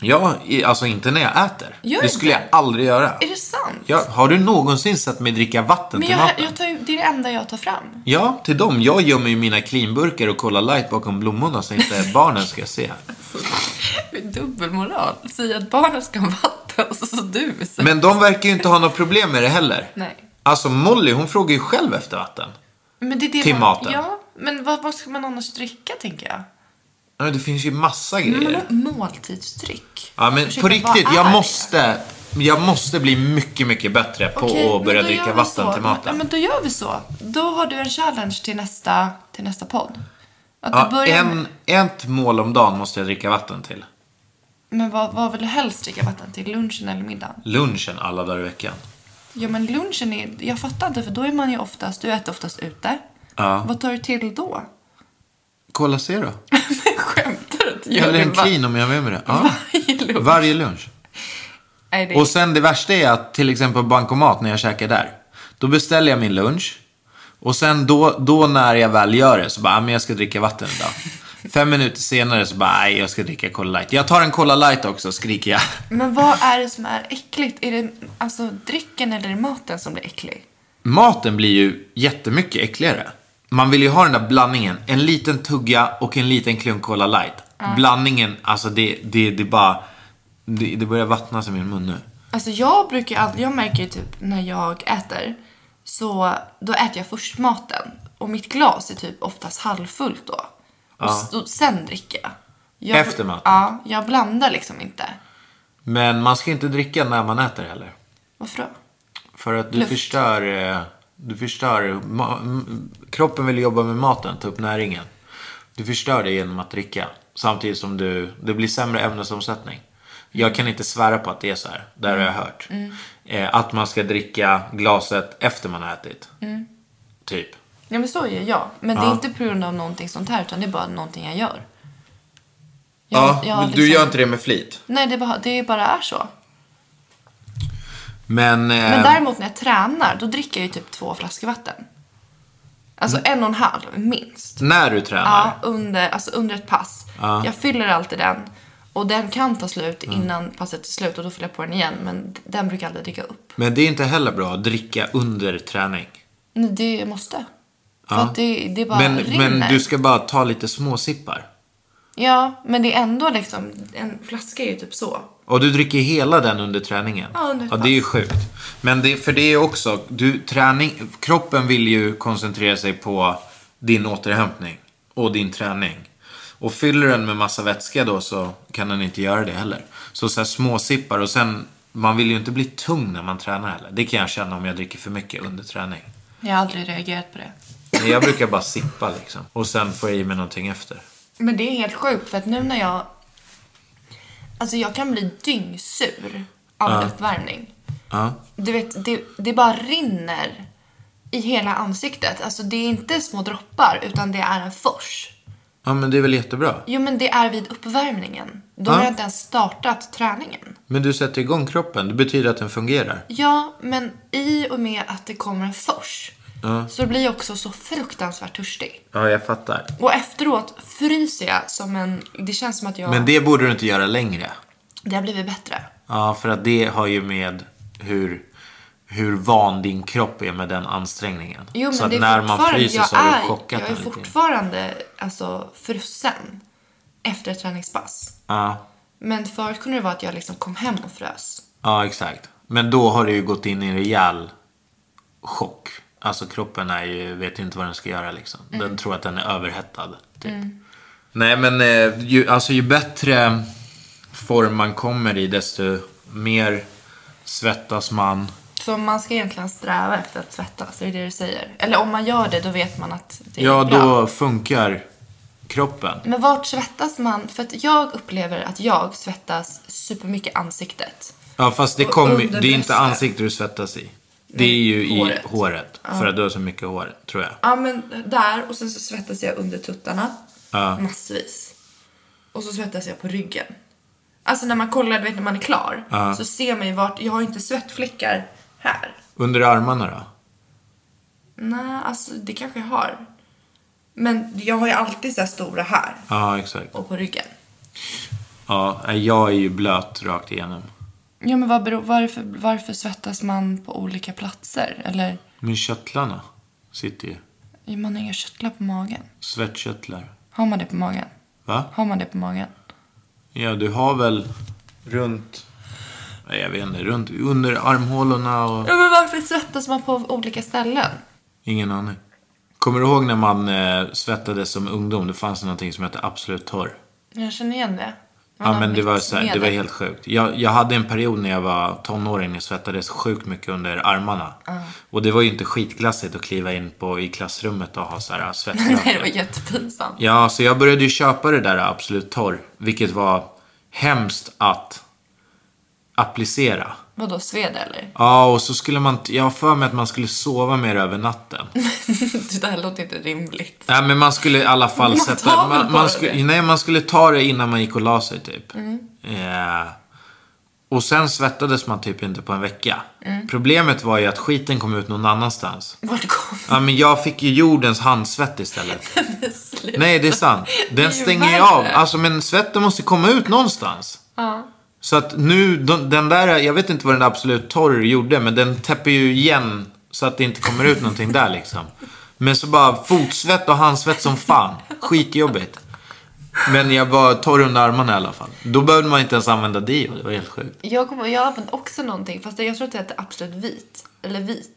D: Ja, i- alltså inte när jag äter.
E: Gör
D: det
E: inte.
D: skulle jag aldrig göra.
E: Är det sant?
D: Ja, har du någonsin sett mig dricka vatten
E: men
D: till
E: jag,
D: maten?
E: jag tar ju, det är det enda jag tar fram.
D: Ja, till dem. Jag gömmer ju mina cleanburkar och kollar light bakom blommorna så inte barnen ska se.
E: Det är Dubbelmoral. Säg att barnen ska ha vatten och så, så du så.
D: Men de verkar ju inte ha något problem med det heller.
E: Nej.
D: Alltså Molly, hon frågar ju själv efter vatten.
E: Men det är det
D: Till
E: man,
D: maten.
E: Ja, men vad, vad ska man annars dricka tänker jag?
D: Ja, men Det finns ju massa
E: Men
D: grejer.
E: vadå måltidsdryck?
D: Eh. Ja, men
E: Ursäkta,
D: på
E: vad
D: riktigt,
E: är
D: jag
E: det?
D: måste, jag måste bli mycket, mycket bättre på
E: Okej,
D: att börja
E: men då gör
D: dricka
E: vi
D: vatten
E: så.
D: till
E: Ja,
D: maten.
E: men då gör vi så. Då har du en challenge till nästa, till nästa podd. Att du
D: Ja,
E: börjar med,
D: en, ett mål om dagen måste jag dricka vatten till.
E: men vad, vad vill du helst dricka vatten till? Lunchen eller middagen?
D: Lunchen alla dagar i veckan.
E: Ja men lunchen är, jag fattar inte för då är man ju oftast, du äter oftast ute.
D: Ja.
E: Vad tar du till då?
D: Kolla se då.
E: Men skämtar du? att jag
D: Eller
E: vill
D: en
E: va-
D: clean om jag har med mig det. Ja.
E: Varje lunch.
D: Varje lunch.
E: Nej, det är,
D: Och sen det värsta är att till exempel bankomat när jag käkar där. Då beställer jag min lunch. Och sen då, då när jag väl gör det så bara, "Ah, men jag ska dricka vatten idag. Fem minuter senare så bara, nej jag ska dricka Cola Light. Jag tar en Cola Light också, skriker jag.
E: Men vad är det som är äckligt? Är det alltså drycken eller är det maten som blir äcklig?
D: Maten blir ju jättemycket äckligare. Man vill ju ha den där blandningen. En liten tugga och en liten klunk Cola Light. Blandningen, alltså det, det, det bara, det, det börjar vattnas i min mun nu.
E: Alltså jag brukar ju alltid, jag märker ju typ när jag äter, så då äter jag först maten. Och mitt glas är typ oftast halvfullt då. Och s- och sen dricker jag. jag.
D: Efter maten?
E: Ja, jag blandar liksom inte.
D: Men man ska inte dricka när man äter heller.
E: Varför då?
D: För att du
E: Luft.
D: förstör... eh, Du förstör... ma- m- Kroppen vill jobba med maten, ta upp näringen. Du förstör det genom att dricka. Samtidigt som du... Det blir sämre ämnesomsättning. Jag kan inte svära på att det är så här. Det här har jag hört.
E: Mm.
D: Eh, Att man ska dricka glaset efter man har ätit.
E: Mm.
D: Typ.
E: Ja men så gör jag. Men det är inte på grund av någonting sånt här utan det är bara någonting jag gör.
D: Ja,
E: jag
D: men du
E: liksom-
D: gör inte det med flit.
E: Nej, det bara, det bara är så.
D: Men...
E: Men
D: eh,
E: däremot när jag tränar, då dricker jag ju typ två flaskor vatten. Alltså
D: Mm.
E: en och en halv, minst.
D: När du tränar.
E: Ja, under, alltså under ett pass. Jag fyller alltid den. Och den kan ta slut
D: Mm.
E: innan passet är slut och då fyller jag på den igen. Men den brukar jag aldrig dricka upp.
D: Men det är inte heller bra att dricka under träning.
E: Nej, det måste. För
D: Ja.
E: att det, det bara
D: men,
E: rinner.
D: men du ska bara ta lite småsippar.
E: Ja, men det är ändå liksom, en flaska är ju typ så.
D: Och du dricker hela den under träningen?
E: Ja, under ett
D: Ja, det är ju
E: pass.
D: sjukt. Men det, för det är också, du, träning, kroppen vill ju koncentrera sig på din återhämtning och din träning. Och fyller den med massa vätska då så kan den inte göra det heller. Så, så här småsippar och sen, man vill ju inte bli tung när man tränar heller. Det kan jag känna om jag dricker för mycket under träning.
E: Jag har aldrig reagerat på det.
D: Men jag brukar bara sippa liksom. Och sen får jag i mig någonting efter.
E: Men det är helt sjukt för att nu när jag... Alltså jag kan bli dyngsur av uppvärmning.
D: Ja.
E: Du vet, det, det bara rinner i hela ansiktet. Alltså det är inte små droppar utan det är en fors.
D: Ja men det är väl jättebra.
E: Jo men det är vid uppvärmningen. Då har
D: Ja.
E: jag inte ens startat träningen.
D: Men du sätter igång kroppen. Det betyder att den fungerar.
E: Ja, men i och med att det kommer en fors så blir jag också så fruktansvärt törstig.
D: Ja, jag fattar.
E: Och efteråt fryser jag som en... Det känns som att jag...
D: Men det borde du inte göra längre.
E: det har blivit bättre.
D: Ja, för att det har ju med hur, hur van din kropp är med den ansträngningen.
E: Jo, men
D: så att
E: det är
D: när man
E: fortfarande-
D: fryser
E: jag
D: så har
E: är-
D: du chockat
E: Jag är
D: den lite.
E: fortfarande alltså, frusen efter ett träningspass.
D: Ja,
E: Men förut kunde det vara att jag liksom kom hem och frös.
D: ja, exakt. Men då har du ju gått in i en rejäl chock. Alltså kroppen är ju, vet ju inte vad den ska göra liksom.
E: Mm.
D: Den tror att den är överhettad. Typ. Nej, men eh, ju, alltså, ju bättre form man kommer i desto mer svettas man.
E: Så man ska egentligen sträva efter att svettas, det är det du säger. Eller om man gör det, då vet man att det är
D: Ja,
E: bra.
D: då funkar kroppen.
E: Men vart svettas man? För att jag upplever att jag svettas supermycket ansiktet.
D: Ja, fast det,
E: Och
D: kom,
E: under
D: det är inte
E: bröstet.
D: ansiktet du svettas i. Det är ju
E: håret.
D: i håret. För att du har så mycket hår, tror jag.
E: Ja, men där och sen så svettas jag under tuttarna. Massvis. Och så svettas jag på ryggen. Alltså när man kollar, du vet när man är klar, så ser man ju vart, jag har ju inte svettfläckar här.
D: Under armarna då?
E: Nej, alltså det kanske jag har. Men jag har ju alltid så här stora här
D: Ja, exakt.
E: och på ryggen.
D: Ja, nej, jag är ju blöt rakt igenom.
E: Ja, men vad beror, varför, varför svettas man på olika platser? Eller,
D: Men köttlarna sitter ju.
E: man har inga körtlar på magen.
D: Svettköttlar.
E: Har man det på magen?
D: Va?
E: Har man det på magen?
D: Ja, du har väl runt... Nej, jag vet inte. Runt under armhålorna och...
E: Ja, men varför svettas man på olika ställen?
D: Ingen aning. Kommer du ihåg när man eh, svettades som ungdom? Det fanns någonting som hette Absolut Torr.
E: Jag känner igen det. Man
D: Ja men det
E: har
D: var,
E: mix
D: så här,
E: med
D: det var helt sjukt. Jag, jag hade en period när jag var tonåring, jag svettades sjukt mycket under armarna. Och det var ju inte skitglassigt att kliva in på, i klassrummet och ha så här
E: Nej, det var
D: svettrökor.
E: jättepinsamt.
D: Ja, så jag började ju köpa det där Absolut Torr, vilket var hemskt att applicera.
E: Vadå, sved eller?
D: Ja, och så skulle man, jag har för mig att man skulle sova mer över natten.
E: det där låter inte rimligt.
D: Nej, men man skulle i alla fall
E: Man
D: sätta...
E: tar väl
D: Man,
E: bara
D: man, skulle,
E: det? Mm.
D: nej, man skulle ta det innan man gick och la sig typ. Eh, och sen svettades man typ inte på en vecka.
E: Mm.
D: Problemet var ju att skiten kom ut någon annanstans.
E: Vart kom
D: Ja, men jag fick ju jordens handsvett istället.
E: det slut?
D: nej, det är sant.
E: Det är ju
D: Den stänger ju av.
E: värre.
D: Alltså, men svetten måste komma ut någonstans.
E: Ja.
D: Så att nu, de- den där, jag vet inte vad den där Absolut Torr gjorde, men den täpper ju igen så att det inte kommer ut någonting där liksom. Men så bara fotsvett och handsvett som fan. Skitjobbigt. Men jag var torr under armarna i alla fall. Då behövde man inte ens använda deo, det var helt sjukt.
E: Jag kommer jag har använt också någonting, fast jag tror att det heter absolut vit. Eller vit.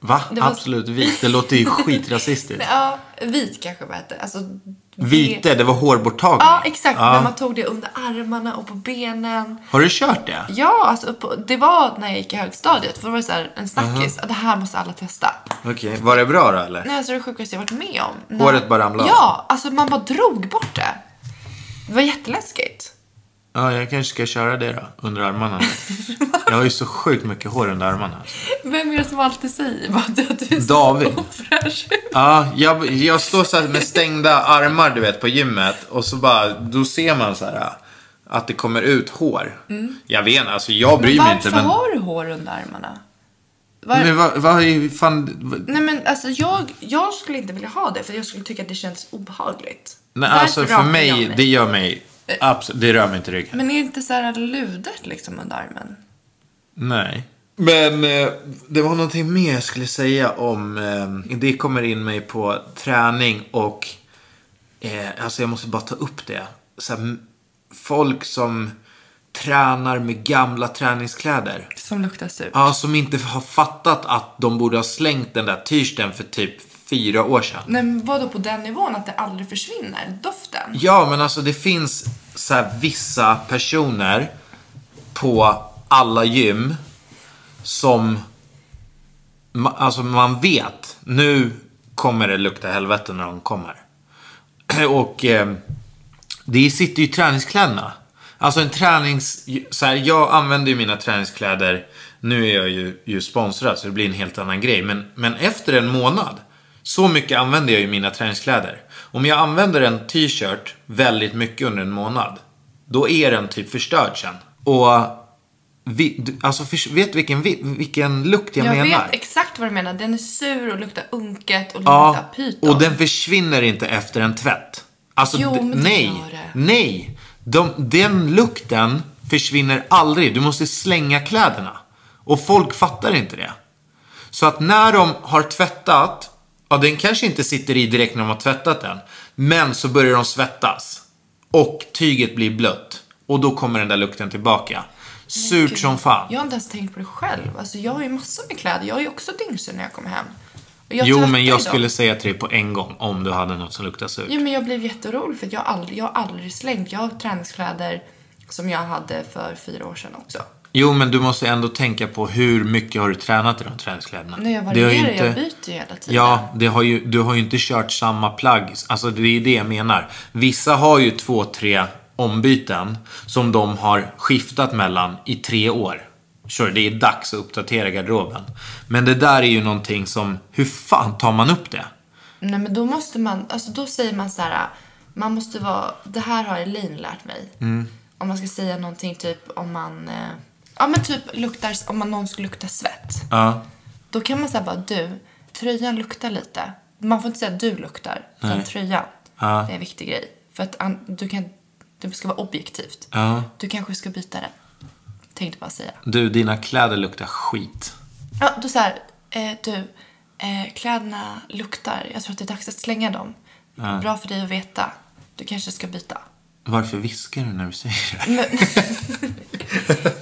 D: Va?
E: Det var-
D: Absolut vit, det låter ju skitrasistiskt.
E: Ja, vit kanske vad heter. Alltså, det-
D: Vite, det var hårborttagning.
E: Ja, exakt.
D: Ja.
E: När man tog det under armarna och på benen.
D: Har du kört det?
E: Ja, alltså upp på, det var när jag gick i högstadiet. För då var det så här en snackis. Det här måste alla testa.
D: Okej, var det bra då eller?
E: Nej, alltså det sjukaste jag varit med om. När-
D: Håret bara ramlade av.
E: Ja, alltså man bara drog bort det. Det var jätteläskigt.
D: Ja, jag kanske ska köra det då, under armarna. Jag har ju så sjukt mycket hår under armarna.
E: Vem är det som alltid säger bara att du är så
D: David.
E: ofräsch ut?
D: Ja, jag, jag står så här med stängda armar du vet på gymmet och så bara, då ser man så här att det kommer ut hår. Jag vet inte, alltså jag bryr mig
E: Mm. Varför
D: inte men...
E: har du hår under armarna? Var...
D: Men vad, vad är fan... vad-
E: Nej men alltså jag, jag skulle inte vilja ha det för jag skulle tycka att det känns obehagligt.
D: Nej,
E: Varför
D: alltså för
E: rakar jag
D: mig, det gör mig... Absolut, det rör mig inte i ryggen.
E: Men är det inte så här ludet liksom under armen?
D: Nej. Men eh, det var någonting mer jag skulle säga om... Eh, det kommer in mig på träning och... Eh, alltså jag måste bara ta upp det. Så här, m- folk som tränar med gamla träningskläder.
E: Som luktar surt.
D: Ja, som inte har fattat att de borde ha slängt den där t-shirten för typ fyra år sedan.
E: Nej, men vadå på den nivån att det aldrig försvinner? Doften?
D: Ja, men alltså det finns så här vissa personer på alla gym som ma- alltså man vet nu kommer det lukta helvete när de kommer. Och eh, det sitter ju i träningskläderna. Alltså en tränings... Så här, jag använder ju mina träningskläder. Nu är jag ju, ju sponsrad så det blir en helt annan grej. Men, men efter en månad. Så mycket använder jag ju mina träningskläder. Om jag använder en t-shirt väldigt mycket under en månad. Då är den typ förstörd sen. Och... Vi, du- alltså, förs- vet du vilken, vi- vilken lukt jag,
E: Jag
D: menar?
E: vet exakt vad du menar. Den är sur och luktar unket och
D: Ja,
E: luktar pyton.
D: och den försvinner inte efter en tvätt. Alltså,
E: Jo,
D: d-
E: men det
D: nej.
E: gör det.
D: Nej. De, den lukten försvinner aldrig. Du måste slänga kläderna. Och folk fattar inte det. Så att när de har tvättat, ja den kanske inte sitter i direkt när de har tvättat den. Men så börjar de svettas. Och tyget blir blött. Och då kommer den där lukten tillbaka. Surt som fan.
E: Jag har inte ens tänkt på det själv. Alltså, jag har ju massor med kläder. Jag är ju också dyngsur när jag kommer hem. Och jag
D: Jo,
E: tvättar
D: men
E: ju
D: jag
E: dem.
D: skulle säga till dig på en gång om du hade något som luktar surt.
E: Jo, men jag blev jätteorolig för att jag har aldrig, jag har aldrig slängt. Jag har träningskläder som jag hade för fyra år sedan också.
D: Jo, men du måste ändå tänka på hur mycket har du tränat i de träningskläderna.
E: Nej, jag
D: Det har ju
E: varierar. Jag byter ju hela tiden.
D: Ja, det har ju, du har ju inte kört samma plagg. Alltså, det är det jag menar. Vissa har ju två, tre ombyten som de har skiftat mellan i tre år. Sure, det är dags att uppdatera garderoben. Men det där är ju någonting som, hur fan tar man upp det?
E: Nej, men då måste man, alltså då säger man så här, man måste vara, det här har Elin lärt mig.
D: Mm.
E: Om man ska säga någonting typ om man, eh, ja men typ luktar, om man någon skulle lukta svett.
D: Ja.
E: Då kan man säga bara du, tröjan luktar lite. Man får inte säga du luktar, utan tröjan. Det är en viktig grej. För att an, du kan, det ska vara objektivt.
D: Ja.
E: Du kanske ska byta den. Tänkte bara säga.
D: Du, dina kläder luktar skit.
E: Ja, då så här, eh, du, eh, kläderna luktar. Jag tror att det är dags att slänga dem. Bra för dig att veta. Du kanske ska byta.
D: Varför viskar du när du säger det?
E: Men,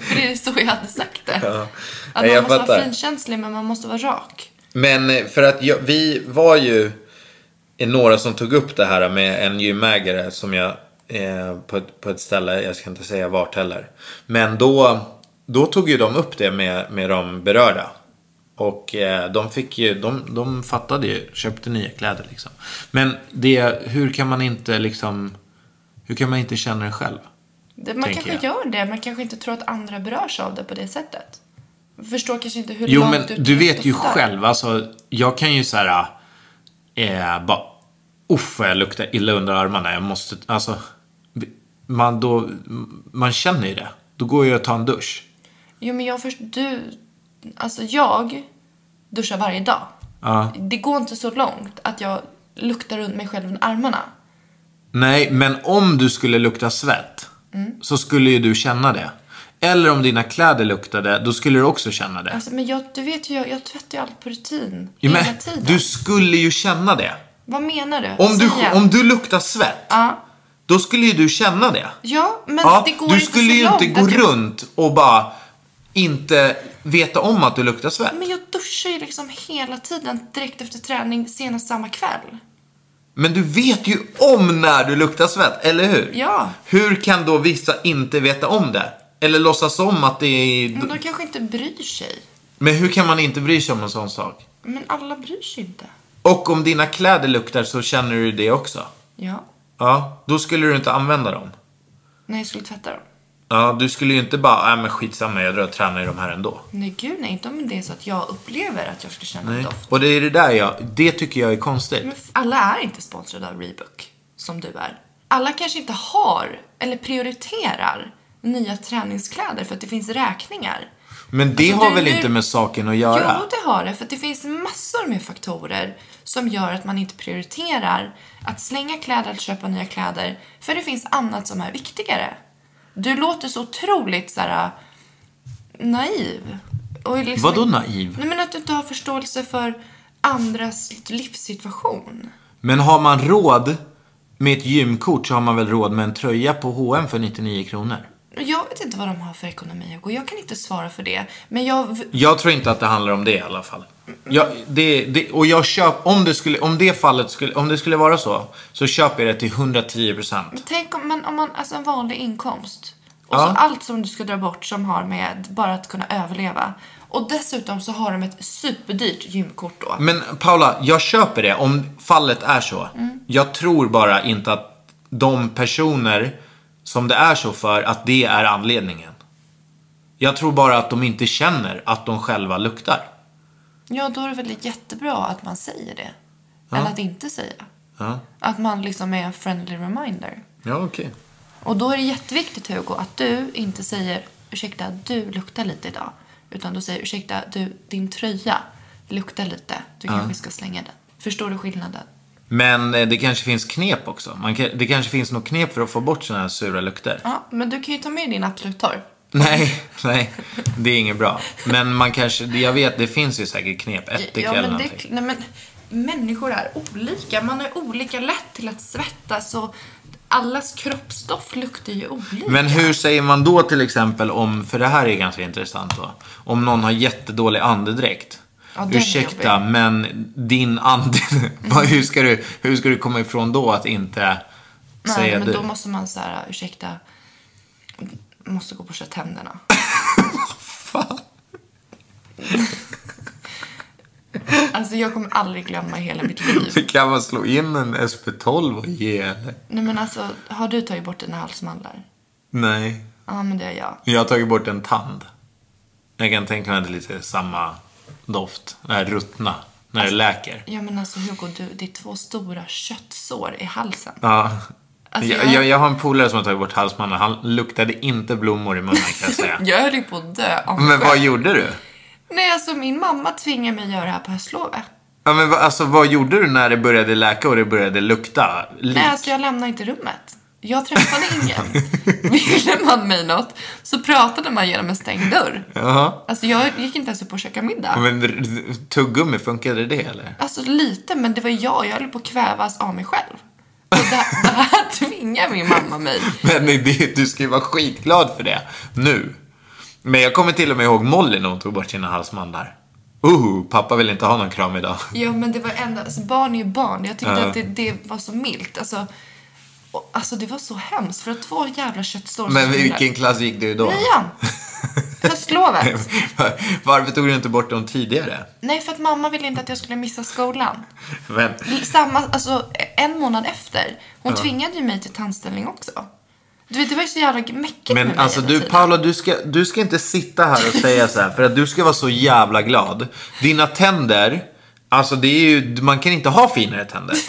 E: för det är så jag hade sagt det.
D: Ja.
E: Att
D: Nej,
E: man
D: jag
E: måste
D: fattar.
E: vara finkänslig men man måste vara rak.
D: Men eh, för att jag, vi var ju eh, några som tog upp det här med en gymägare som jag eh, på, ett, på ett ställe, jag ska inte säga vart heller. Men då, då tog ju de upp det med, med de berörda. Och eh, de fick ju, de, de fattade ju, köpte nya kläder liksom. Men det, hur kan man inte liksom, hur kan man inte känna det själv?
E: Det, man
D: Tänker
E: kanske
D: jag.
E: gör det, man kanske inte tror att andra berörs av det på det sättet. Förstår kanske inte hur
D: Jo
E: långt
D: men
E: ut
D: du
E: det
D: vet ju
E: doftar.
D: själv, alltså jag kan ju så här eh, bara uff vad jag luktar illa under armarna, jag måste, alltså man då, man känner ju det. Då går jag och tar en dusch.
E: Jo men jag först, du, alltså jag duschar varje dag.
D: Ja.
E: Det går inte så långt att jag luktar runt mig själv med armarna.
D: Nej, men om du skulle lukta svett
E: Mm.
D: så skulle ju du känna det. Eller om dina kläder luktade, då skulle du också känna det.
E: Alltså, men jag, du vet ju, jag, jag tvättar ju allt på rutin.
D: Jo,
E: hela
D: men,
E: tiden. Alltså,
D: du skulle ju känna det.
E: Vad menar du?
D: Om du,
E: Säg igen.
D: om du luktar svett,
E: Ja.
D: då skulle ju du känna det.
E: Ja, men
D: Ja,
E: det går
D: du
E: inte
D: skulle
E: så
D: ju
E: långt
D: inte gå
E: att jag-
D: runt och bara inte veta om att du luktar svett.
E: Men jag duschar ju liksom hela tiden direkt efter träning senast samma kväll.
D: Men du vet ju om när du luktar svett, eller hur?
E: Ja.
D: Hur kan då vissa inte veta om det? Eller låtsas om att det är...
E: Men de kanske inte bryr sig.
D: Men hur kan man inte bry sig om en sån sak?
E: Men alla bryr sig inte.
D: Och om dina kläder luktar så känner du det också.
E: Ja.
D: Ja, då skulle du inte använda dem.
E: När jag skulle tvätta dem.
D: Ja, du skulle ju inte bara, nej men skitsamma, jag drar och tränar i de här ändå.
E: Nej gud nej, inte om det är så att jag upplever att jag skulle känna
D: Nej.
E: doft.
D: Och det är det där jag, det tycker jag är konstigt.
E: Men f- alla är inte sponsrade av Reebok, som du är. Alla kanske inte har, eller prioriterar, nya träningskläder för att det finns räkningar.
D: Men det
E: Alltså,
D: har
E: du-
D: väl
E: du-
D: inte med saken att göra?
E: Jo, det har det, för att det finns massor med faktorer som gör att man inte prioriterar att slänga kläder eller köpa nya kläder, för det finns annat som är viktigare. Du låter så otroligt så här, naiv. Och är liksom,
D: Vadå naiv?
E: Nej, men att du inte har förståelse för andras livssituation.
D: Men har man råd med ett gymkort så har man väl råd med en tröja på H&M för 99 kronor?
E: Jag vet inte vad de har för ekonomi, Hugo. Jag kan inte svara för det. Men jag...
D: Jag tror inte att det handlar om det i alla fall. Ja, det, det, och jag köp, om, det skulle, om det fallet skulle, om det skulle vara så, så köper jag det till 110%.
E: Tänk om man, om man alltså en vanlig inkomst. Och
D: Ja.
E: så allt som du ska dra bort som har med bara att kunna överleva. Och dessutom så har de ett superdyrt gymkort då.
D: Men Paula, jag köper det om fallet är så. Jag tror bara inte att de personer som det är så för, att det är anledningen. Jag tror bara att de inte känner att de själva luktar.
E: Ja, då är det väl jättebra att man säger det. Eller att inte säga.
D: Ja,
E: Att man liksom är en friendly reminder.
D: ja okej.
E: Och då är det jätteviktigt Hugo att du inte säger ursäkta du luktar lite idag. Utan du säger ursäkta du din tröja luktar lite. Du kanske ska slänga den. Förstår du skillnaden?
D: Men eh, det kanske finns knep också. Man kan, det kanske finns något knep för att få bort sådana här sura lukter.
E: Ja, men du kan ju ta med din Absolut Torr.
D: Nej, nej. Det är inget bra. Men man kanske, jag vet, det finns ju säkert knep. Ättika
E: Ja,
D: eller
E: men det,
D: någonting.
E: nej, men människor är olika. Man är olika lätt till att svettas och allas kroppsstoff luktar ju olika.
D: Men hur säger man då till exempel om, för det här är ganska intressant då, om någon har jättedålig andedräkt.
E: Ja, den är
D: Ursäkta, men din ande... Vad- hur, ska du, hur ska du komma ifrån då att inte
E: Nej,
D: säga
E: men
D: du?
E: då måste man så här, ursäkta, måste gå och borsta tänderna. Alltså jag kommer aldrig glömma hela mitt liv.
D: Kan man slå in en SP12 och ge eller?
E: Nej men alltså, har du tagit bort dina halsmandlar?
D: Nej.
E: Ja men det har jag.
D: Jag har tagit bort en tand. Jag kan tänka mig att det är lite samma doft. Det här ruttna. När det läker.
E: Ja men alltså Hugo, du, det är två stora köttsår i halsen.
D: Ja.
E: Alltså,
D: jag,
E: jag-
D: jag, jag har en polare som har tagit bort halsmannen. Han luktade inte blommor i munnen kan jag säga.
E: Jag höll ju på att dö av
D: Men vad
E: skämt.
D: gjorde du?
E: Nej alltså min mamma tvingade mig att göra det här på höstlovet.
D: Ja, men vad, alltså, vad gjorde du när det började läka och det började lukta lik?
E: Nej, alltså jag lämnade inte rummet. Jag träffade ingen. Ville man mig något så pratade man genom en stängd dörr.
D: Jaha.
E: Alltså jag gick inte ens upp och käkade middag.
D: Men r- r- tuggummi, funkade det eller?
E: Alltså lite, men det var jag. Jag höll på att kvävas av mig själv. Och det, det här tvingar min mamma mig.
D: Men det, du ska ju vara skitglad för det. Nu. Men jag kommer till och med ihåg Molly när hon tog bort sina halsmandlar. Uh, pappa vill inte ha någon kram idag.
E: Ja, men det var ändå, alltså barn är ju barn. Jag tyckte
D: Ja.
E: att det, det var så milt. Alltså, och, alltså det var så hemskt. För att två jävla köttsår som
D: Men
E: skulle-
D: vilken klass gick du i då?
E: Alltså, Nian! Höstlovet.
D: Varför tog du inte bort dem tidigare?
E: Nej, för att mamma ville inte att jag skulle missa skolan.
D: Men,
E: samma, alltså en månad efter. Hon tvingade ju mig till tandställning också. Du vet, det var ju så jävla mäckigt med
D: men
E: mig
D: alltså
E: hela
D: du
E: tiden.
D: Paula, du ska, du ska inte sitta här och säga så här för att du ska vara så jävla glad. Dina tänder, alltså det är ju, man kan inte ha finare tänder.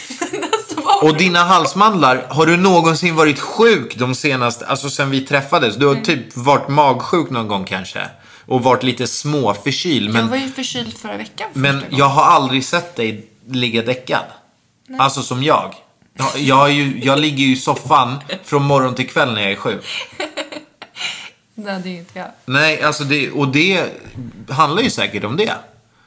E: Alltså, vad har
D: Och
E: du-
D: dina halsmandlar, har du någonsin varit sjuk de senaste, alltså sen vi träffades? Du har
E: Mm.
D: typ varit magsjuk någon gång kanske. Och varit lite småförkyld.
E: Jag
D: Men,
E: var ju förkyld förra veckan första
D: men
E: gången.
D: jag har aldrig sett dig ligga däckad. Alltså som jag. Jag, jag, har ju, jag ligger ju i soffan från morgon till kväll när jag är sjuk.
E: Nej, det är inte jag.
D: Nej, alltså det, och det handlar ju säkert om det.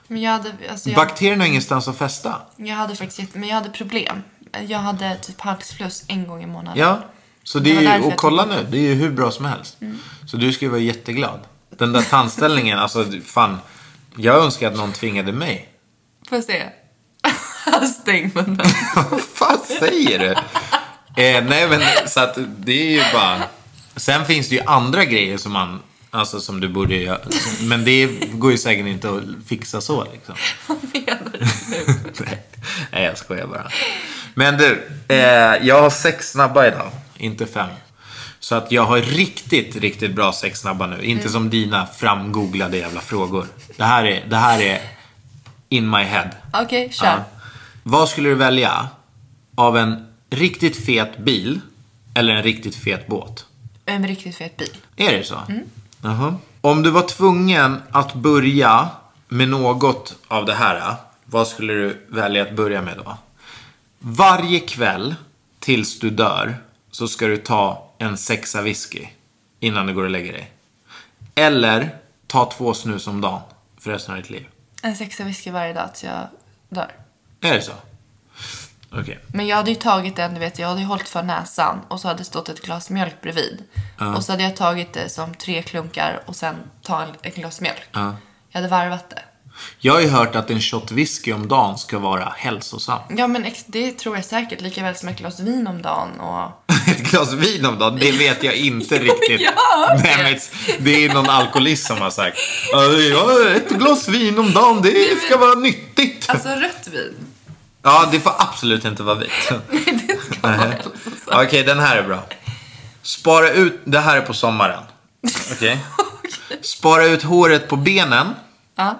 E: Men jag hade, alltså, jag,
D: Bakterierna har ingenstans att fästa.
E: jag hade faktiskt jätte, men jag hade problem. Jag hade typ halsfluss en gång i månaden.
D: Ja, så det
E: Det var
D: är ju,
E: därför
D: och
E: jag Mm.
D: kolla
E: tog
D: nu, det är ju hur bra som helst. Så du ska ju vara jätteglad. Den där tandställningen, alltså du- fan. Jag önskar att någon tvingade mig.
E: Får jag se? Stäng munnen.
D: Vad fan säger du? Eh, nej men så att det är ju bara. Sen finns det ju andra grejer som man, alltså som du borde göra. Men det går ju säkert inte att fixa så liksom.
E: Vad menar du nu?
D: Nej, jag skojar bara. Men du, eh, jag har sex snabba idag. Inte fem. Så att jag har riktigt, riktigt bra sex snabba nu. Inte som dina framgooglade jävla frågor. Det här är, det här är in my head.
E: Okej, kör.
D: Ja. Vad skulle du välja av en riktigt fet bil eller en riktigt fet båt?
E: En riktigt fet bil.
D: Är det så? Jaha. Om du var tvungen att börja med något av det här, vad skulle du välja att börja med då? Varje kväll tills du dör så ska du ta en sexa whisky innan du går och lägger dig. Eller ta två snus om dagen för resten av ditt liv.
E: En sexa whisky varje dag tills jag dör.
D: Är det så? Okej.
E: Men jag hade ju tagit den, du vet, jag hade ju hållit för näsan och så hade det stått ett glas mjölk bredvid. Och så hade jag tagit det som tre klunkar och sen ta en, ett glas mjölk. Jag hade varvat det.
D: Jag har ju hört att en shot whisky om dagen ska vara hälsosam.
E: Ja, men ex- det tror jag säkert. Lika väl som ett glas vin om dagen och...
D: Ett glas vin om dagen, det vet jag inte riktigt.
E: jag har hört
D: Nej,
E: det.
D: men det är någon alkoholist som har sagt. "Ja, ja, Ett glas vin om dagen, det ska vara nyttigt.
E: Alltså rött vin.
D: Ja, det får absolut inte vara vitt.
E: Det ska vara hälsosamt.
D: Okej, den här är bra. Spara ut... Det här är på sommaren. Okej. Spara ut håret på benen
E: Ja.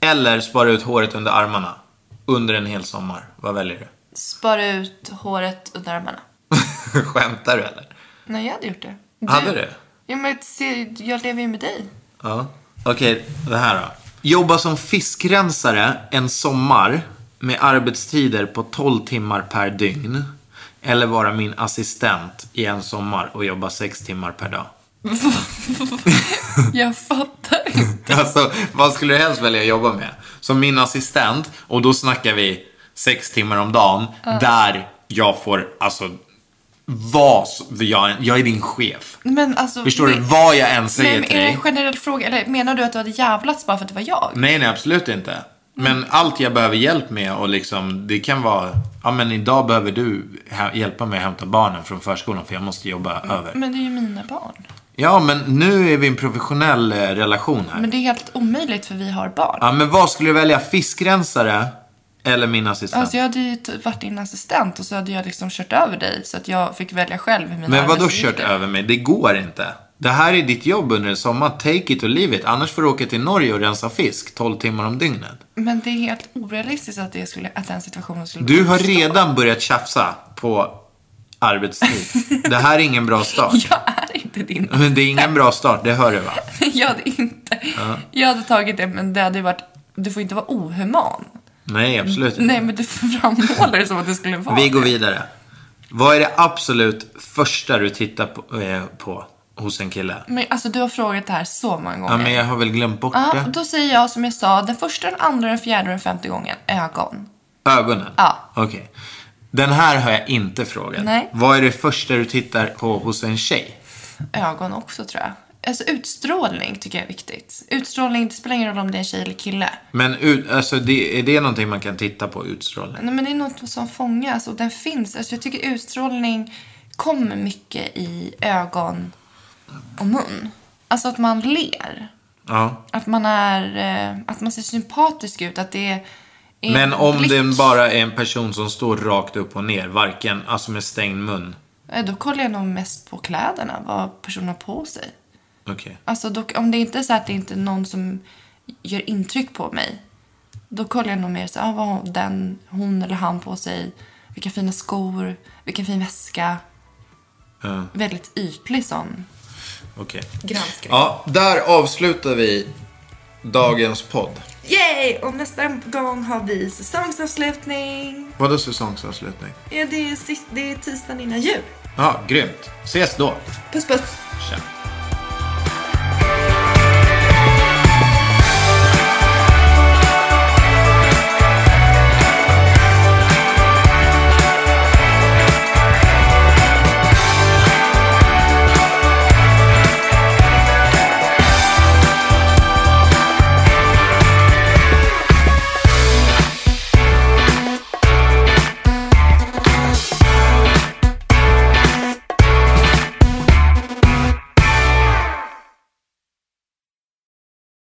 D: eller spara ut håret under armarna. Under en hel sommar. Vad väljer du?
E: Spara ut håret under armarna.
D: Skämtar du eller?
E: Nej, jag hade gjort det.
D: Hade du?
E: Ja, men se, jag lever ju med dig.
D: Ja. Okej, det här då. Jobba som fiskrensare en sommar med arbetstider på 12 timmar per dygn. Eller vara min assistent i en sommar och jobba 6 timmar per dag.
E: Jag fattar inte.
D: Alltså, vad skulle du helst välja att jobba med? Som min assistent, och då snackar vi sex timmar om dagen, där jag får, alltså, vad s- jag, jag är din chef.
E: Men alltså...
D: Förstår du?
E: men-
D: Vad jag än säger
E: Nej, men
D: till
E: är det
D: dig.
E: en generell fråga? Eller menar du att du hade jävlats bara för att det var jag?
D: Nej, nej, absolut inte. Men allt jag behöver hjälp med och liksom, det kan vara, ja men idag behöver du hä- hjälpa mig att hämta barnen från förskolan för jag måste jobba över.
E: Men det är ju mina barn.
D: Ja, men nu är vi i en professionell eh, relation här.
E: Men det är helt omöjligt för vi har barn.
D: Ja, men vad skulle du välja? Fiskrensare eller min assistent?
E: Alltså jag hade ju t- varit din assistent och så hade jag liksom kört över dig så att jag fick välja själv hur mina
D: Men vad då
E: arbetsuppgifter-
D: kört över mig? Det går inte. Det här är ditt jobb under en sommar. Take it or leave it. Annars får du åka till Norge och rensa fisk 12 timmar om dygnet.
E: Men det är helt orealistiskt att, det skulle, att den situationen skulle
D: Du har
E: uppstå.
D: redan börjat tjafsa på arbetstid. Det här är ingen bra start.
E: Jag är inte din.
D: Men det är ingen bra start, det hör du va?
E: Jag hade inte. Jag hade tagit det men det hade ju varit, du får inte vara ohuman.
D: Nej, absolut inte.
E: Nej men du framhåller det som att det skulle vara
D: Vi går
E: det.
D: vidare. Vad är det absolut första du tittar på, eh, på hos en kille?
E: Men alltså du har frågat det här så många
D: Ja,
E: gånger.
D: men jag har väl glömt bort
E: Ja,
D: det.
E: då säger jag som jag sa, den första, den andra, den fjärde och den femte gången, ögon.
D: Ögonen?
E: Ja.
D: Okej. Den här har jag inte frågat.
E: Nej.
D: Vad är det första du tittar på hos en tjej?
E: Ögon också tror jag. Alltså utstrålning tycker jag är viktigt. Utstrålning, det spelar ingen roll om det är en tjej eller kille.
D: Men ut, alltså, det, är det någonting man kan titta på utstrålning?
E: Nej men det är något som fångas och den finns. Alltså jag tycker utstrålning kommer mycket i ögon och mun. Alltså att man ler.
D: Ja.
E: Att man är, eh, att man ser sympatisk ut. Att det är en
D: Men om
E: blick.
D: det bara är en person som står rakt upp och ner, varken, alltså med stängd mun.
E: Eh, Då kollar jag nog mest på kläderna, vad personen har på sig.
D: Okej.
E: Alltså dock, om det inte är så att det inte är någon som gör intryck på mig. Då kollar jag nog mer så ah, vad har den, hon eller han på sig? Vilka fina skor, vilken fin väska.
D: Ja.
E: Väldigt ytlig sån
D: Okej.
E: granskning.
D: Ja, där avslutar vi dagens podd.
E: Yay! Och nästa gång har vi säsongsavslutning.
D: Vadå säsongsavslutning?
E: Ja, det, är sist, det är tisdagen innan jul.
D: Ja, grymt. Ses då.
E: Puss puss!
D: Tja.